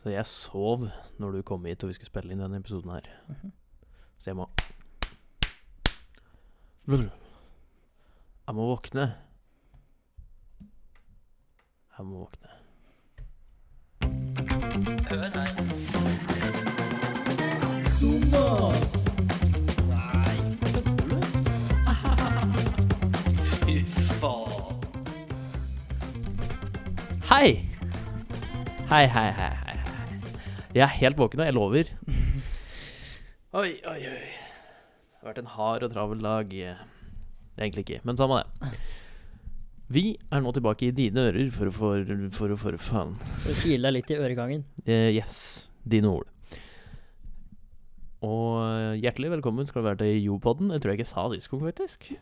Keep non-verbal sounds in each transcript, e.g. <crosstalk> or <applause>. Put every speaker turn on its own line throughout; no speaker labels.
Så jeg sov når du kom hit og vi skulle spille inn denne episoden her.
Mhm.
Så jeg må Jeg må våkne. Jeg må våkne.
Hør her. Thomas! Nei, kødder du? Fy faen.
Hei! Hei, hei, hei, hei. hei. Jeg er helt våken, og jeg lover. <laughs> Oi, oi, oi. Det har vært en hard og travel dag. Egentlig ikke, men samme det. Vi er nå tilbake i dine ører for å for, for, for, for faen.
Du kiler deg litt i øregangen.
Eh, yes, dine ord. Og eh, hjertelig velkommen skal du være til Jopodden. Jeg tror jeg ikke sa disko, faktisk.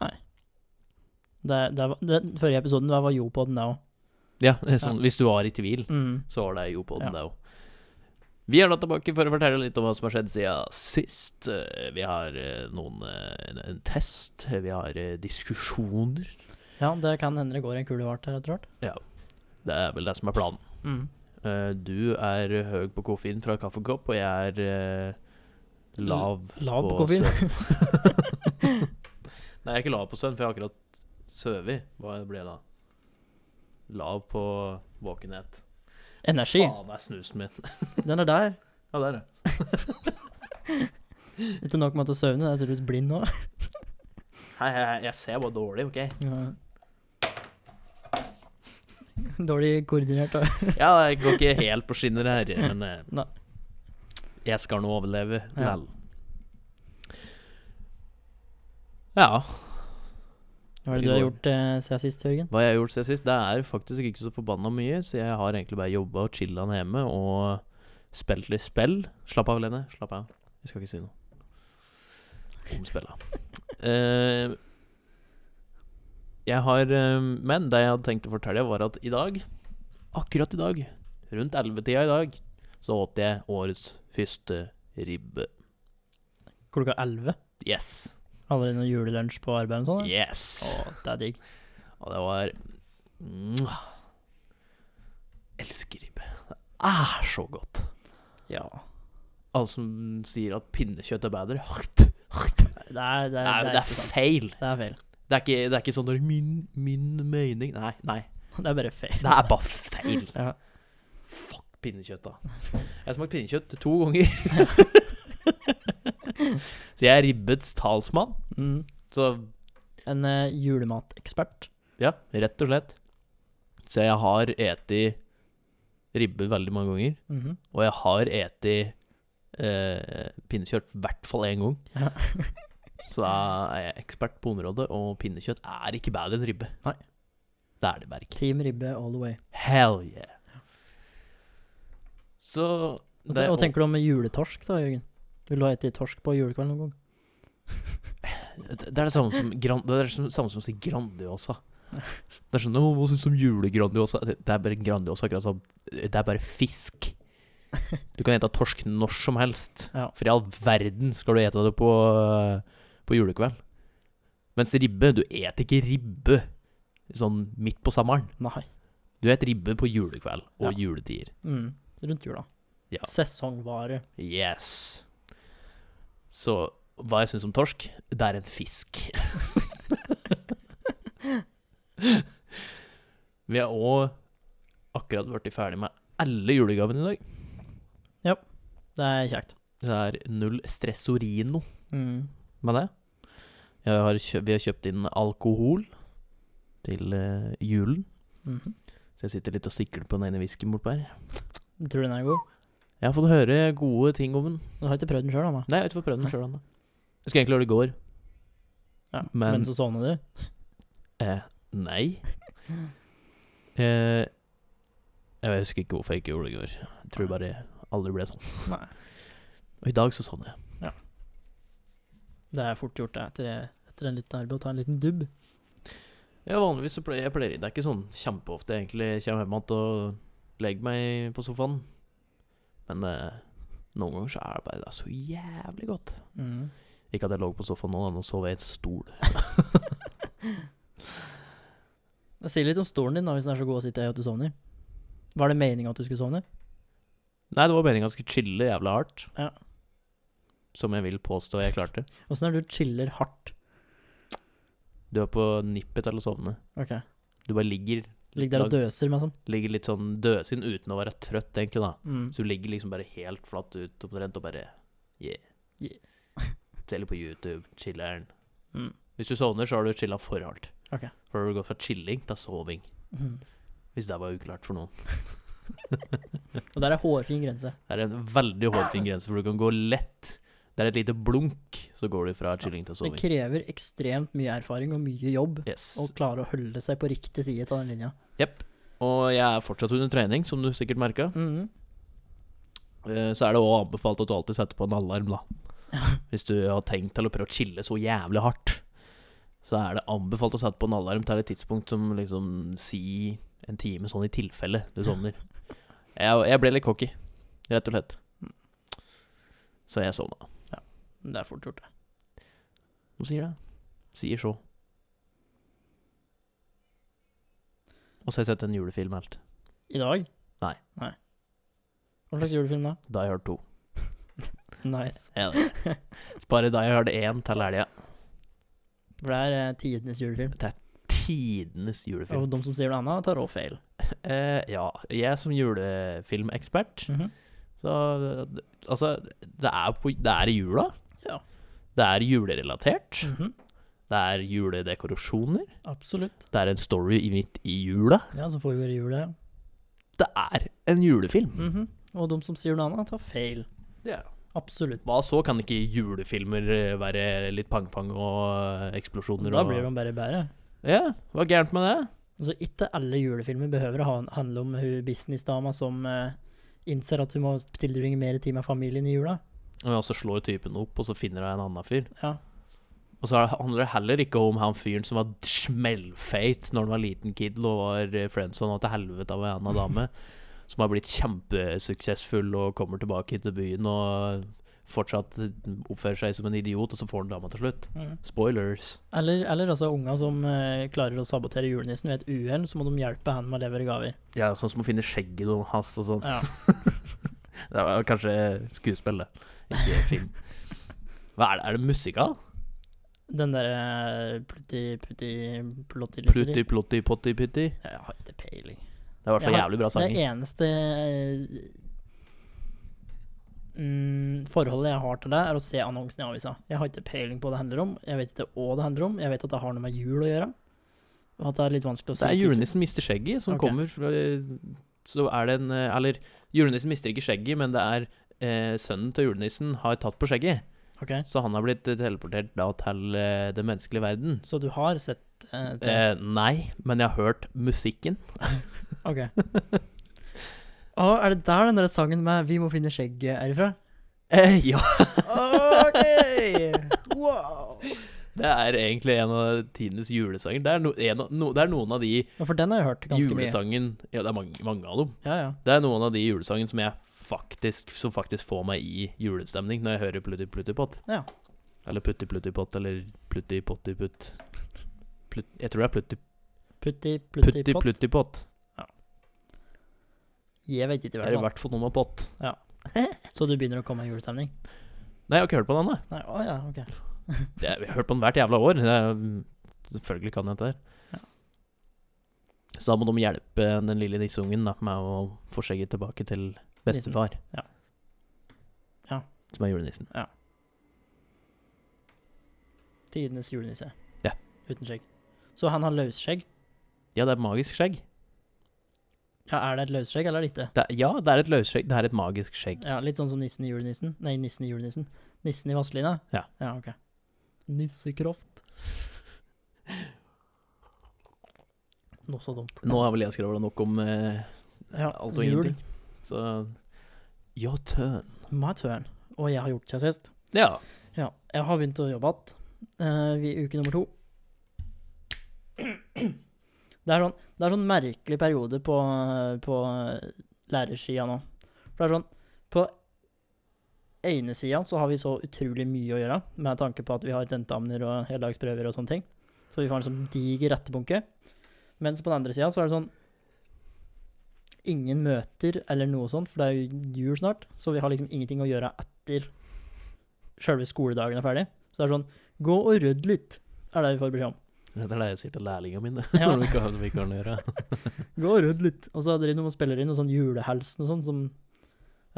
Det, det, var- den forrige episoden der var jo på den, der òg.
Ja, det er sånn, Hvis du var i tvil,
Mm.
så var det Jopodden,
Ja.
det òg. Vi er da tilbake for å fortelle litt om hva som har skjedd siden sist. Eh, Vi har eh, noen eh, en, en test, vi har eh, diskusjoner.
Ja, det kan hende det går en kule vart her etter hvert.
Det er vel det som er planen.
Mm.
Eh, Du er høy på koffein fra kaffekopp, og jeg er eh, lav
Lav på koffein.
søvn. Nei, jeg er ikke lav på søvn, for jeg har akkurat sovet. Hva ble jeg da? Lav på våkenhet.
<laughs> Energi.
Faen, det er snusen min.
Den er der.
Ja, der, ja.
Ikke nok med at du søvner, jeg er tydeligvis blind nå.
Hei, hei, hei, jeg ser bare dårlig, OK?
Ja. <laughs> Dårlig koordinert. da.
<laughs> Ja, jeg går ikke helt på skinner her, men eh,
Nei.
jeg skal nå overleve.
Ja.
Vel. Ja.
Hva er det du har gjort eh, siden sist, Jørgen?
Hva jeg har gjort siden sist, det er faktisk ikke så forbanna mye, så jeg har egentlig bare jobba og chilla hjemme og spilt litt spill. Slapp av, Lene. Slapp av. Jeg skal ikke si noe om spilla. Eh, jeg har eh, Men det jeg hadde tenkt å fortelle, var at i dag, akkurat i dag, rundt 11-tida i dag, så åt jeg årets første ribbe.
Klokka 11?
Yes.
Hadde dere noe julelunsj på arbeid? og sånn? da?
Yes.
Å, det er digg.
Og det var Mwah. Elsker ribbe. Det er så godt.
Ja.
Alle som sier at pinnekjøtt er bedre
Nei, Det er, det er,
Nei, men
det er,
det er
ikke sant.
feil.
det er feil.
Det er ikke, det er ikke sånn der, min, min mening Nei, nei.
Det er bare feil.
Det er bare feil.
<laughs> Ja.
Fuck pinnekjøtt, da. Jeg har smakt pinnekjøtt to
<laughs>
ganger. Så jeg er ribbets talsmann.
Mm.
Så
En eh, julematekspert.
ja, rett og slett. Så jeg har eti ribbe veldig mange ganger.
Mhm.
Og jeg har eti eh, pinnekjøtt i hvert fall én gang.
Ja.
<laughs> Så da er jeg ekspert på området, og pinnekjøtt er ikke bedre enn ribbe.
Nei.
Det er det bare ikke.
Team ribbe all the way.
Hell yeah. Så
Hva te- Hva tenker du om juletorsk, da, Jørgen? Vil du ha spist torsk på julekvelden noen gang?
Det er det samme som, gran, det er det som- samme som å si
<laughs>
Grandiosa. Det er sånn «Å, Hva syns du om julegrandiosa? Det er bare Grandiosa. akkurat som- Det er bare
<laughs>
fisk. Du kan ete torsk når som helst.
Ja.
For i all verden skal du ete det på, øh, på julekveld. Mens ribbe Du et ikke ribbe sånn midt på sommeren.
Nei.
Du et ribbe på julekveld og
Ja.
juletider.
Mm. Rundt jula.
Ja.
Sesongvare.
Yes. Så hva jeg syns om torsk? Det er en fisk. <laughs> Vi har òg akkurat blitt ferdig med alle julegavene i dag.
Det er kjekt.
Så det er null stressorino
Mm.
med det. Jeg har kjø vi har kjøpt inn alkohol til eh, julen,
Mhm.
så jeg sitter litt og sikler på den ene whiskyen bortpå her.
Tror du den er god?
Jeg har fått høre gode ting om den.
Du har ikke prøvd den sjøl, da? da.
Nei, jeg har ikke fått prøvd den sjøl ennå. Jeg skulle egentlig gjøre det i går.
Ja.
Men-
Men, så sovner du?
Eh, <laughs> nei. Eh, jeg husker ikke hvorfor jeg ikke gjorde det i går. Jeg tror bare jeg aldri ble sånn.
Nei.
Og i dag så sånn jeg.
Det er fort gjort, det. Etter, etter en liten arbeid å ta en liten dubb.
Ja, vanligvis så pleier jeg pleier, Det er ikke sånn kjempeofte jeg egentlig kommer hjem igjen og legger meg på sofaen. Men eh, noen ganger så er det bare det er så jævlig godt.
Mm.
Ikke at jeg lå på sofaen nå, da, nå sov jeg i en stol.
Jeg sier litt om stolen din, da, hvis den er så god å sitte i at du sovner. Var det meninga at du skulle sovne?
Nei, det var meningen ganske chille jævla hardt.
Ja.
Som jeg vil påstå jeg klarte.
Åssen er det du chiller hardt?
Du er på nippet til å sovne.
Ok.
Du bare ligger,
Ligger der og døser, liksom.
ligger litt sånn dødsinn uten å være trøtt, egentlig, da.
Mm.
Så du ligger liksom bare helt flatt ut omtrent og bare Yeah.
Yeah. <laughs>
Ser litt på YouTube, chiller'n.
Mm.
Hvis du sovner, så har du chilla for hardt.
Ok.
For har du gått fra chilling til soving.
Mhm.
Hvis det var uklart for noen.
Og der er hårfin grense.
Det er en veldig hårfin grense, for du kan gå lett. Det er et lite blunk, så går du fra chilling til
Det
soving.
krever ekstremt mye erfaring og mye jobb
Yes.
å klare å holde seg på riktig side av den linja.
Jepp. Og jeg er fortsatt under trening, som du sikkert merka.
Mhm.
Eh, Så er det òg anbefalt at du alltid setter på en alarm, da. Hvis du har tenkt til å prøve å chille så jævlig hardt, så er det anbefalt å sette på en alarm til et tidspunkt som liksom si en time, sånn i tilfelle du sovner. Jeg, jeg ble litt cocky, rett og slett. Så jeg sovna.
Det er fort gjort, det.
De sier det. Sier så. Og så har jeg sett en julefilm helt.
I dag?
Nei.
Nei. Hva slags julefilm da?
Die Hard 2.
Nice.
Ja, det. Spare Die Hard 1 til helga.
For det er eh, tidenes julefilm.
Tidenes julefilm.
Og de som sier noe annet, tar også feil.
Eh, ja, jeg som julefilmekspert
Mhm.
Så eh, d- altså, det er, på, det er i jula.
Ja.
Det er julerelatert.
Mhm.
Det er juledekorasjoner.
Absolutt.
Det er en story i midt i jula.
Ja, så foregår det i jula, ja.
Det er en julefilm.
Mhm. Og de som sier noe annet, tar feil. Absolutt.
Hva så? Kan ikke julefilmer eh, være litt pang-pang og eh, eksplosjoner?
Da
og-
blir de bare bedre.
Ja, hva er gærent med det?
Altså, ikke alle julefilmer behøver å ha, handle om hun businessdama som eh, innser at hun må tilbringe mer tid med familien i jula.
Og så slår typen opp, og så finner hun en annen fyr.
Ja.
Og så er det- handler det heller ikke om han fyren som var smellfeit når han var liten kid og var eh, friendzone og til helvete av en annen dame, <laughs> som har blitt kjempesuksessfull og kommer tilbake hit til byen og fortsatt oppfører seg som en idiot, og så får han dama til slutt.
Mm.
Spoilers.
Eller, eller altså unger som eh, klarer å sabotere julenissen ved et uhell, så må de hjelpe han med å levere gaver.
Ja, sånn som å finne skjegget og hans og sånn.
Ja.
Det var kanskje skuespill, det. Ikke <laughs> film. Hva er det? Er det musikal?
Den derre plutti, plutti, plotti,
Plutti, plotti, potti, pytti?
Jeg har ikke peiling.
Det er i hvert fall
Jeg har-
jævlig bra sanger.
Det eneste eh, mm, forholdet jeg har til det, er å se annonsen i avisa. Jeg har ikke peiling på hva det handler om. Jeg vet ikke hva det handler om. Jeg vet at det har noe med jul å gjøre. Og at det er litt vanskelig å si.
Det er
titel.
julenissen mister skjegget som
Ok.
kommer fra Så er det en eh, Eller julenissen mister ikke skjegget, men det er eh, sønnen til julenissen har tatt på skjegget.
Ok,
Så han har blitt eh, teleportert da til eh, den menneskelige verden.
Så du har sett eh, det?
Eh, nei, men jeg har hørt musikken.
Ok. <laughs> Å, er det der den der sangen med 'Vi må finne skjegget' er ifra?
Eh, <laughs> ja.
OK! Wow!
Det er egentlig en av tidenes julesanger. Det er, no, en, av- no, det er noen av de
Ja, for den har jeg hørt ganske mye.
julesangen Ja, det er mange, mange av dem.
Ja, ja.
Det er noen av de julesangene som jeg faktisk Som faktisk får meg i julestemning når jeg hører Plutti Plutti Pott.
Ja.
Eller Putti Plutti Pott, eller Plutti Potti Putt. Plut, jeg tror det er Plutti
Putti, plutti,
Plutti
pott.
Plutti Pott.
Jeg vet ikke
Det
hva
er i
det var.
hvert fall noe med pott.
Så du begynner å komme i julestemning?
Nei, jeg har ikke hørt på den, da.
Nei, å ja, ok.
Jeg har hørt på den hvert jævla år. Det er, selvfølgelig kan jeg dette her.
Ja.
Så da må de hjelpe den lille nisseungen da, med å få skjegget tilbake til bestefar.
Ja. Ja.
Som er julenissen.
Tidenes julenisse.
Ja.
Uten skjegg. Så han har løsskjegg.
Ja, det er et magisk skjegg.
Ja, er det et løsskjegg, eller er det ikke?
Det er, ja, det er et løsskjegg. Det er et magisk skjegg.
Ja, litt sånn som nissen i julenissen. Nei, nissen i julenissen. Nissen i Vasselina?
Ja.
ja. Ok. Nissekraft. Noe så dumt.
Nå har vel jeg skravla nok om eh,
Ja,
alt og
jul.
ingenting. Så Your turn.
My turn. Og jeg har gjort seg sist.
Ja.
Ja, jeg har begynt å jobbe igjen. Eh, vi er i uke nummer to. Det er sånn, det er sånn merkelig periode på, eh, på lærersida nå. For det er sånn På ene sida så har vi så utrolig mye å gjøre, med tanke på at vi har tentaminer og heldagsprøver og sånne ting. Så vi får en sånn diger rettebunke. Mens på den andre sida så er det sånn ingen møter eller noe sånt, for det er jo jul snart. Så vi har liksom ingenting å gjøre etter sjølve skoledagen er ferdig. Så det er sånn Gå og rydd litt, er det vi får beskjed om.
Det er det jeg sier til lærlingene <laughs> mine
Ja.
når de ikke har noe vi kan gjøre.
Gå og rydd litt. Og så driver de og spiller inn noe sånn julehilsen og sånn som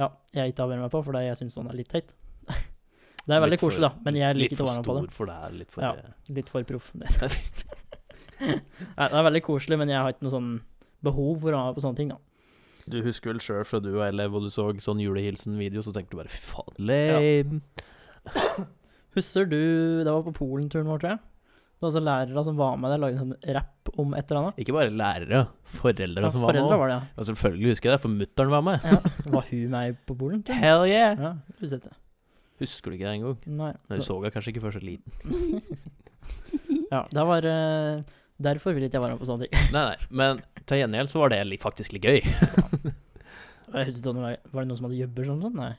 ja, jeg ikke har vært med på, fordi jeg syns sånn er litt teit. <laughs> Det er veldig
Litt for-
koselig, da, men jeg liker
Litt
ikke å
for
være med på det.
stor for det her. Litt for
Ja.
eh,
Litt for proff. <laughs> Nei, det er veldig koselig, men jeg har ikke noe sånn behov for å være med på sånne ting, da.
Du husker vel sjøl fra du var elev og du så sånn julehilsen-video, så tenkte du bare fy faen, lame.
Husker du Det var på Polenturen vår, tror jeg. Det var også lærere som var med der, lagde en sånn rapp om et eller annet.
Ikke bare lærere, foreldre
Ja,
som var med.
foreldre
også.
var det, ja.
Og selvfølgelig husker jeg det, for mutter'n var med.
ja. Var hun med på Polen? tror jeg?
Hell yeah!
Ja, du sett det.
Husker du ikke det engang?
Nei.
Nei, Du så henne kanskje ikke før så liten.
Ja, det var eh, Derfor ville ikke jeg være med på sånne ting. <laughs>
Nei, nei, men til gjengjeld så var det li- faktisk litt gøy.
Jeg husker ikke om det Var var det noen som hadde jobber sånn? sånn? Nei.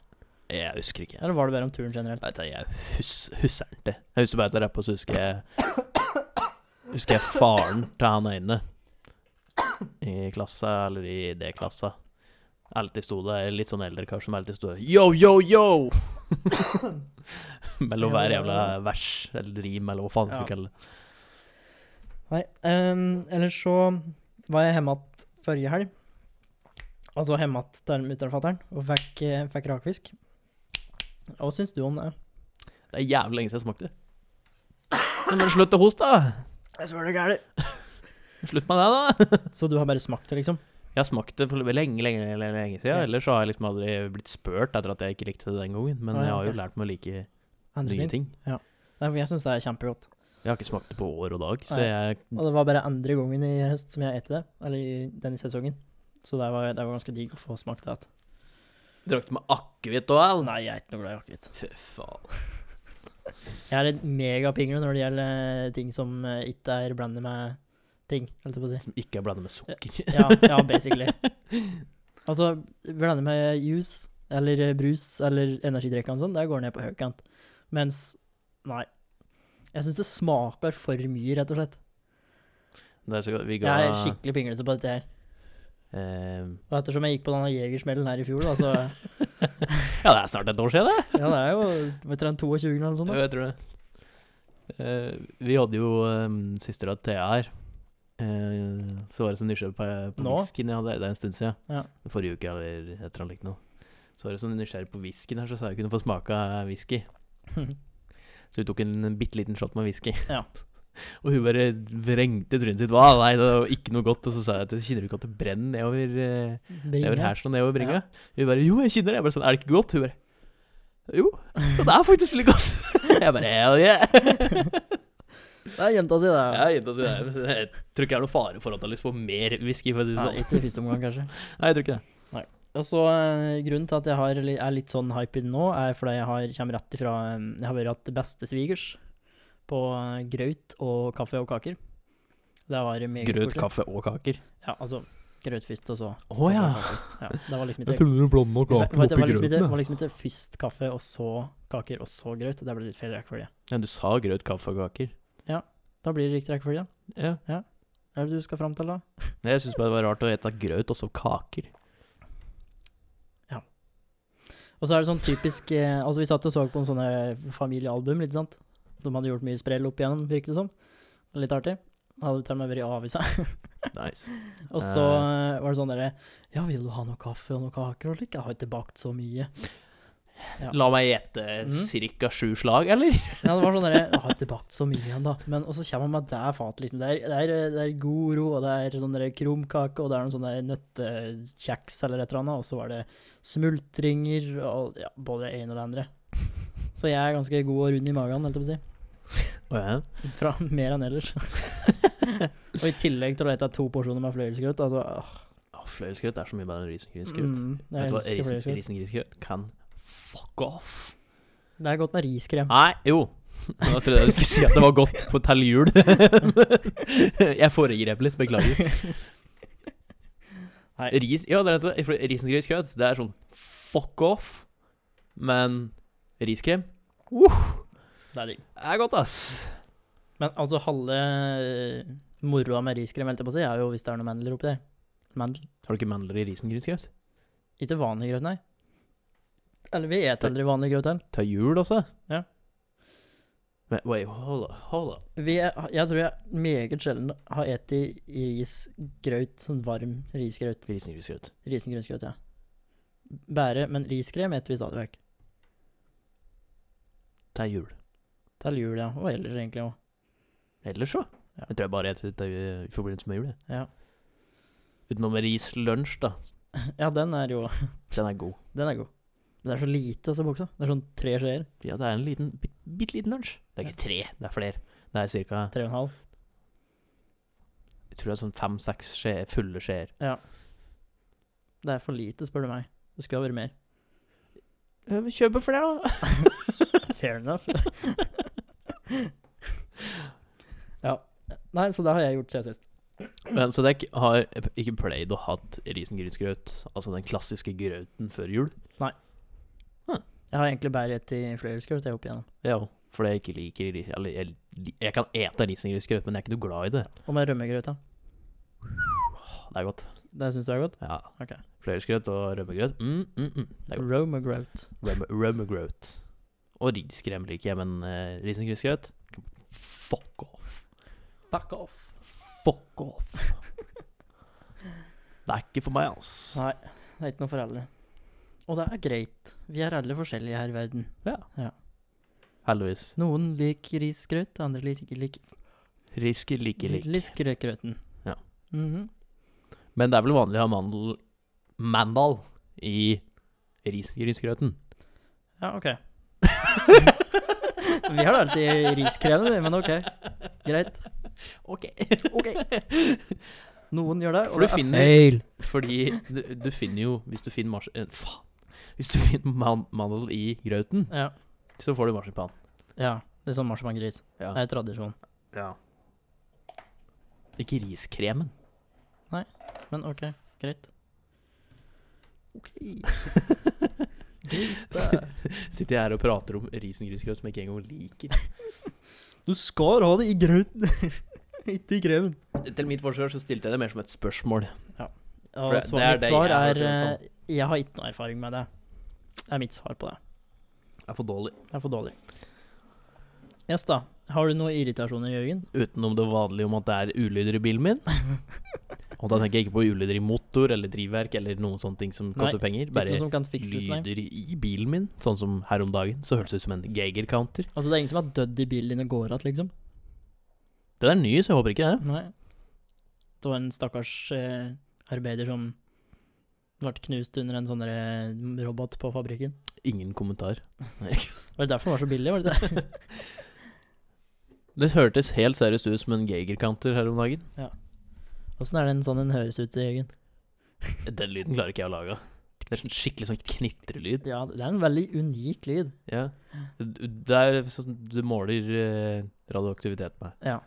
Jeg husker ikke.
Eller var det bare om turen generelt?
Vet du, jeg hus husker den ikke. Jeg husker bare at jeg rappa, så husker jeg Husker jeg faren til han øynene i klassa, eller i D-klassa. Alltid sto der, litt sånn eldre kar som alltid sto der Yo, yo, yo! <laughs> mellom hver jævla vers eller rim, eller hva faen
Ja.
du kaller det.
Nei. Um, ellers så var jeg hjemme igjen forrige helg. Altså hjemme igjen til mutter'n og fatter'n, og fikk, eh, fikk rakfisk. Hva syns du om det?
Det er jævlig lenge siden jeg smakte. Nei, Men slutt å hoste, da!
Jeg svør det gæli.
Slutt med det, da!
Så du har bare smakt det, liksom?
Jeg har smakt det for lenge, lenge, lenge, lenge siden.
Ja.
Ellers så har jeg liksom aldri blitt spurt etter at jeg ikke likte det den gangen. Men
Ah, ja,
jeg har jo
ok.
lært meg å like
Andre
nye
ting?
ting.
Nei, for jeg syns det er kjempegodt.
Jeg har ikke smakt det på år og dag, så
Nei.
jeg
Og det var bare andre gangen i høst som jeg spiste det, eller i denne sesongen. Så det var, det var ganske digg å få smakt det. igjen.
drakk det med akevitt og all.
Nei, jeg er ikke noe glad i akevitt.
Fy faen.
Jeg er en megapingle når det gjelder ting som eh, ikke er blandet med ting, holdt jeg på å si.
Som ikke er blanda med sukker.
Ja, ja basically. Altså, blande med juice, eller eh, brus, eller energidrikker og sånn, det går ned på høykant. Mens, nei. Jeg syns det smaker for mye, rett og slett.
<laughs> Det er så godt. Vi ga
Jeg er skikkelig pinglete på dette her.
eh,
Og ettersom jeg gikk på denne jegersmellen her i fjor, da, så
Ja, det er snart et år siden, det.
Ja, det er jo vet dere, 22 eller noe sånt. Da.
Jeg tror det. Eh, vi hadde jo um, søstera Thea her. Eh, så var det så nysgjerrig på, eh, på
Nå?
whiskyen jeg hadde. Det er en stund siden.
Ja.
Forrige uke eller et eller annet likt noe. Så var det så nysgjerrig på whiskyen her, så sa jeg kunne få smake eh,
<laughs>
whisky. Så hun tok en bitte liten shot med whisky.
Ja.
<laughs> Og hun bare vrengte trynet sitt. Hva, nei, det var ikke noe godt. Og så sa jeg at kjenner du ikke at det brenner nedover, eh,
Bringe.
nedover hersen og nedover bringa? Hun bare jo, jeg kjenner det. Jeg bare sånn, er det ikke godt? Hun bare jo, og det er faktisk litt godt. <laughs> Jeg bare hell <laughs> yeah.
Det er jenta si, det.
Jeg har gitt oss i det. men Jeg tror ikke det er noe fare for at jeg har lyst på mer whisky. For å si det
Nei,
sånn.
ikke i første omgang, kanskje.
Nei, jeg tror ikke det.
Og så eh, Grunnen til at jeg har, li- er litt sånn hype i det nå, er fordi jeg har, kommer rett ifra eh, Jeg har vært hatt beste svigers på eh, grøt og kaffe og kaker. Det var meget
Grøt,
koselig.
kaffe og kaker.
Ja, altså grøt først, og så
Å ja.
ja. Det var liksom ikke
Jeg trodde du blanda
det var,
kaken
det var,
oppi
liksom ikke, det
grøten.
var liksom ikke først kaffe, og så kaker, og så grøt. Det ble litt feil rekkefølge.
ja. Du sa grøt, kaffe og kaker.
Da blir det riktig rekkefølge.
Ja.
Hva er det du skal fram til, da?
Nei, Jeg syns bare det var rart å spise grøt og så kaker.
Og så er det sånn typisk eh, Altså, vi satt og så på en sånn eh, familiealbum, ikke sant? De hadde gjort mye sprell opp igjennom, virket det som. Litt artig. Hadde til og med vært i avisa. <laughs>
Nice.
Og så eh, var det sånn derre Ja, vil du ha noe kaffe og noen kaker og slik? Jeg har ikke bakt så mye. Ja.
La meg gjette
Mhm.
cirka sju slag, eller?
Ja, det var sånn derre Jeg har ikke bakt så mye igjen, da. Men og så kommer han med det fatet, liksom. Det er, det, er, det er Goro, og det er sånn derre krumkake, og det er noen sånne der nøttekjeks eller et eller annet, og så var det smultringer og ja, både det ene og det andre. Så jeg er ganske god og rund i magen, holdt jeg på å si. Fra mer
<laughs>
enn ellers. og i tillegg til å lete to porsjoner med fløyelsgrøt. Altså, åh,
Å, Fløyelsgrøt er så mye bedre enn risengrynsgrøt.
mm, jeg
Vet du hva,
elsker
Risen-
fløyelsgrøt.
risengrynsgrøt kan fuck off.
Det er godt med riskrem.
Nei, jo. <laughs> Nå trodde jeg du skulle si at det var godt på til jul. <laughs> jeg foregrep litt, beklager.
Nei.
Ris, ja, det er nettopp det. For risengrynsgrøt, det er sånn fuck off. Men riskrem
<laughs> Det er digg.
er godt, ass.
Men altså, halve eh, moroa med riskrem, holdt jeg på å si, er jo hvis det er noen mandler oppi der. Mandel.
Har du ikke mandler i risengrynsgrøt?
Ikke vanlig grøt, nei. Eller vi et aldri vanlig grøt heller.
Ta jul også?
Ja.
Men, wait, hold up, hold up.
Vi er- Jeg tror jeg meget sjelden har spist risgrøt, sånn varm risgrøt.
Risengrynsgrøt.
Risengrynsgrøt, ja. Bære, men riskrem spiser vi stadig vekk.
Ta jul.
Til jul, ja. Og ellers egentlig òg.
Ellers så.
Ja.
Jeg tror jeg bare spiser det i forbindelse med jul. jeg.
Ja.
Utenom rislunsj, da.
ja, den er jo
Den er god.
Den er god. Det er så lite, altså, buksa. Det er sånn tre skjeer.
Ja, det er en liten, bit- bitte liten lunsj. Det er ikke tre, det er flere. Det er cirka
Tre og en halv.
jeg tror det er sånn fem-seks skjeer, fulle skjeer.
Det er for lite, spør du meg. Det skulle ha
<laughs>
vært mer.
Eh, Kjøp for det, da. <laughs>
Fair enough. <laughs> ja. Nei, så det har jeg gjort siden sist.
Men, så dere har ikke pleid å hatt risengrynsgrøt, altså den klassiske grøten før jul?
Jeg har egentlig bare ett i flere skrøt jeg opp igjennom.
Ja, for jeg ikke liker ri- Eller jeg, li- jeg kan ete risengrynsgrøt, men jeg er ikke noe glad i det.
Og med rømmegrøt, ja.
Det er godt.
Det syns du er godt?
Ja.
Ok.
Fløyelsgrøt og rømmegrøt, mm, mm, mm. det er godt.
Romagrøt.
Rømme, rømmegrøt. Og riskrem liker jeg, men uh, risengrynsgrøt Fuck off.
Fuck off.
Fuck off. det er ikke for meg, ass.
Nei, det er ikke noe for alle. Og det er greit. Vi er alle forskjellige her i verden.
Heldigvis.
Noen liker risgrøt, andre liker, liker,
Risk liker lik.
liker grøten.
Ja.
Mhm.
Men det er vel vanlig å ha mandel mandal i risengrynsgrøten.
Ja, ok. <laughs> Vi har da alltid riskrem, vi, men ok. Greit.
Ok.
Noen gjør det,
For
og
du
det er
finner-
feil.
Fordi du, du finner jo Hvis du finner mars... eh, Faen. Hvis du finner man mandel i grøten,
Ja.
så får du marsipan.
ja. Det er sånn marsipangris.
Ja.
Det er tradisjon.
Ja. Ikke riskremen.
Men ok, greit. Ok.
<laughs> Sitter jeg her og prater om risengrynsgrøt som jeg ikke engang liker.
Du skal ha det i grøten, <laughs> ikke i kremen.
Til mitt forsvar så stilte jeg det mer som et spørsmål.
Og
For det-
svar,
det er
mitt
det
svar
jeg har hørt
er
i
eh,
hvert
Jeg har ikke noe erfaring med det. Det er mitt svar på det.
Det er for dårlig.
Det er for dårlig. Yes, da. Har du noen irritasjoner, Jørgen?
Utenom det vanlige om at det er ulyder i <laughs> bilen min. Og da tenker jeg ikke på ulyder i motor eller drivverk eller noen sånne ting som koster penger.
Ikke
Bare
noe som kan fikses, nei.
lyder i bilen min, sånn som her om dagen. Så hørtes det ut som en Geiger-counter.
Altså, det er ingen som har dødd i bilen din og går igjen, liksom?
Den er ny, så jeg håper ikke det.
Nei. Det var en stakkars eh, arbeider som ble knust under en sånn derre robot på fabrikken.
Ingen kommentar.
Var det derfor den var så billig? var det det?
Det hørtes helt seriøst ut som en Geiger-counter her om dagen.
<laughs> Åssen er den sånn den høres ut, Jørgen?
Den lyden klarer ikke jeg å lage. Det er sånn skikkelig sånn knitrelyd.
Ja, det er en veldig unik lyd.
Ja. D- Det er sånn du måler eh, radioaktivitet med.
Ja.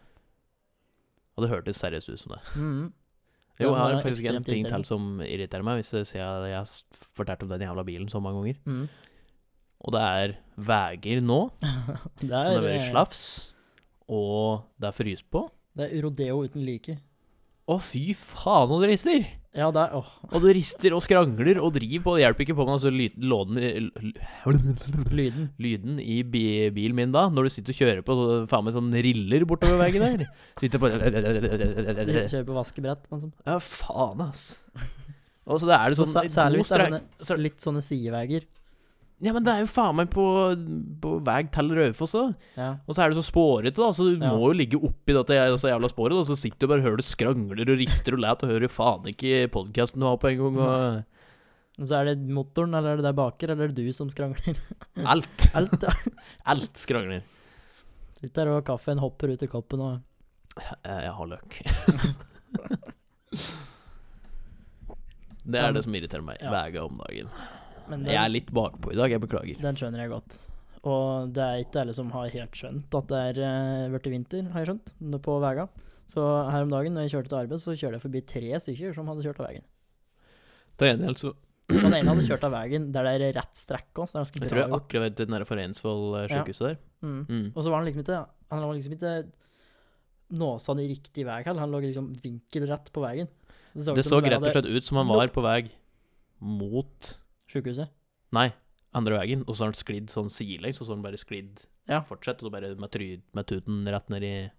Og det hørtes seriøst ut som det.
Mhm.
Jo,
Ja,
jeg har
det er
faktisk en
ekstremt
ting
irriterende.
til som irriterer meg, hvis jeg ser at jeg har s- fortalt om den jævla bilen så mange ganger.
Mhm.
Og det er veier nå,
<laughs> det,
som det har vært
eh,
slafs, og det er fryst på.
det er rodeo uten like.
Å, fy faen, og det rister!
Ja, det er åh.
Og det rister og skrangler og driver på, det hjelper ikke på med altså, ly- låden i- l- l-
Lyden.
lyden i bi- bilen min da, når du sitter og kjører på så, faen meg sånn riller bortover veien der. Sitter på
Kjører på vaskebrett. liksom.
Ja, faen, ass. Og så det er det
Så
sånn
sæ- særlig hvis det er
god
sånne,
stra-
litt sånne sideveier.
Ja, men det er jo faen meg på, på vei til Raufoss òg.
Ja.
Og så er det så spårete, da, så du
Ja.
må jo ligge oppi dette disse jævla sporet. Og så sitter du bare og hører du skrangler og rister og læt og hører faen ikke podkasten du har på en gang, og
Og så er det motoren, eller er det der baker, eller er det du som skrangler?
alt.
Alt, ja.
Alt skrangler.
Sitter der og kaffen hopper ut i koppen og
Eh, Jeg har løk. Det er det som irriterer meg
Ja.
hver gang om dagen.
Men den,
Jeg er litt bakpå i dag, jeg beklager.
den skjønner jeg godt. Og det er ikke alle som har helt skjønt at det er eh, blitt vinter, har jeg skjønt, nå på veiene. Så her om dagen når jeg kjørte til arbeid, så kjørte jeg forbi tre stykker som hadde kjørt av veien.
Til gjengjeld
<clears throat>
så
Og den ene hadde kjørt av veien der det er rett strekke også, så det er ganske
Jeg
bra
tror jeg
gjort.
akkurat ved den der Foreinsvoll eh,
Ja.
sjukehuset der.
Mm.
Mm.
Og så var han liksom ikke Han var liksom ikke nåsa i riktig vei heller, han lå liksom vinkelrett på veien. ut
Det
som
så
den
rett og
hadde
slett ut som han var på vei mot
Sykehuset.
Nei, andre veien. Og så har han sklidd sånn sidelengs, og så har han bare sklidd
Ja.
fortsatt. Og så bare med, try, med tuten rett ned i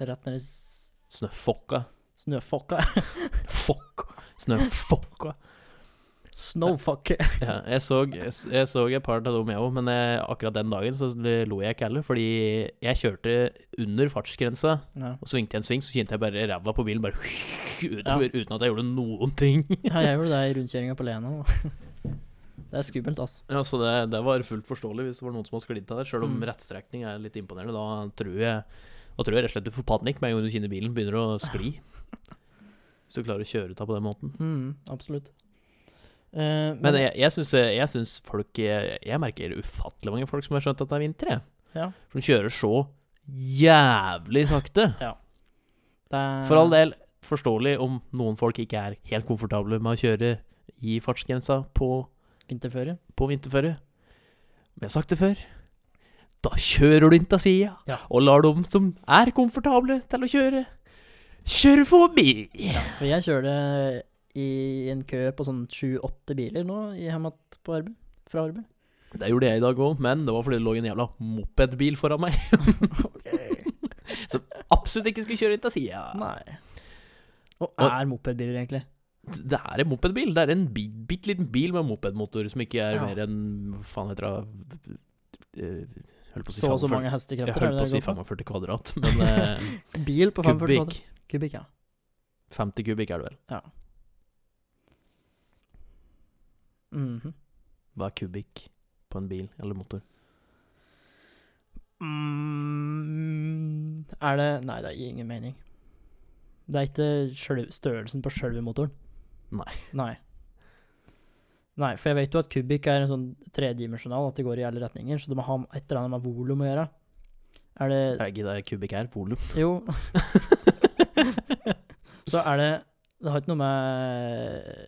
Rett ned i s-
snøfokka.
snøfokka. <laughs>
Fokk! Snøfokka!
Snowfuck.
Ja, jeg, så, jeg, s- jeg så et par av dem, jeg òg, men jeg, akkurat den dagen så lo jeg ikke heller. Fordi jeg kjørte under fartsgrensa,
Ja.
og svingte jeg en sving, så kjente jeg bare ræva på bilen bare <laughs> utover, uten at jeg gjorde noen ting.
<laughs> ja, jeg gjorde det i rundkjøringa på Lena. nå. <laughs> Det er skummelt, ass.
Ja, så det, det var fullt forståelig hvis det var noen som har sklidd av der. Selv om
Mm.
rettstrekning er litt imponerende, da tror jeg Da tror jeg rett og slett du får panikk med en gang du kjenner bilen begynner å
<laughs>
skli. Hvis du klarer å kjøre ut av på den måten.
Mm, absolutt. Eh,
Men jeg, jeg syns- jeg syns folk jeg, jeg merker ufattelig mange folk som har skjønt at det er vinter, jeg.
Ja.
Som kjører så jævlig sakte.
det er-
For all del forståelig om noen folk ikke er helt komfortable med å kjøre i fartsgrensa på
Vinterføre.
på vinterføre. Men jeg har sagt det før. Da kjører du inn til sida
Ja.
og lar dem som er komfortable til å kjøre, kjøre forbi.
For jeg kjørte i en kø på sånn sju-åtte biler nå i Hemat på arbeid. Fra arbeid.
Det gjorde jeg i dag òg, men det var fordi det lå en jævla mopedbil foran meg <laughs> som absolutt ikke skulle kjøre inn til sida.
Nei.
Ah.
Og
Og-
er mopedbiler, egentlig.
Det er en mopedbil. Det er en bi- bitte liten bil med mopedmotor som ikke er
Ja.
mer enn Hva faen heter det Eh, Holdt på å si
Så og så
45
mange
Jeg
hestekrefter. er
holdt på å
det
si
det går
45 kvadrat, men eh,
på? Bil <laughs> på 45
kubikk.
kvadrat. Kubikk, ja.
50 kubikk er det vel.
Mhm.
Hva er kubikk på en bil eller motor?
Mm, er det Nei, det gir ingen mening. Det er ikke sjøl- størrelsen på sjølve motoren.
Nei.
Nei. Nei, for jeg vet jo at kubikk er en sånn tredimensjonal, at det går i alle retninger, så det må ha et eller annet med volum å gjøre. Er det
Er ikke det kubikk her? Volum? <laughs>
Jo. så er det Det har ikke noe med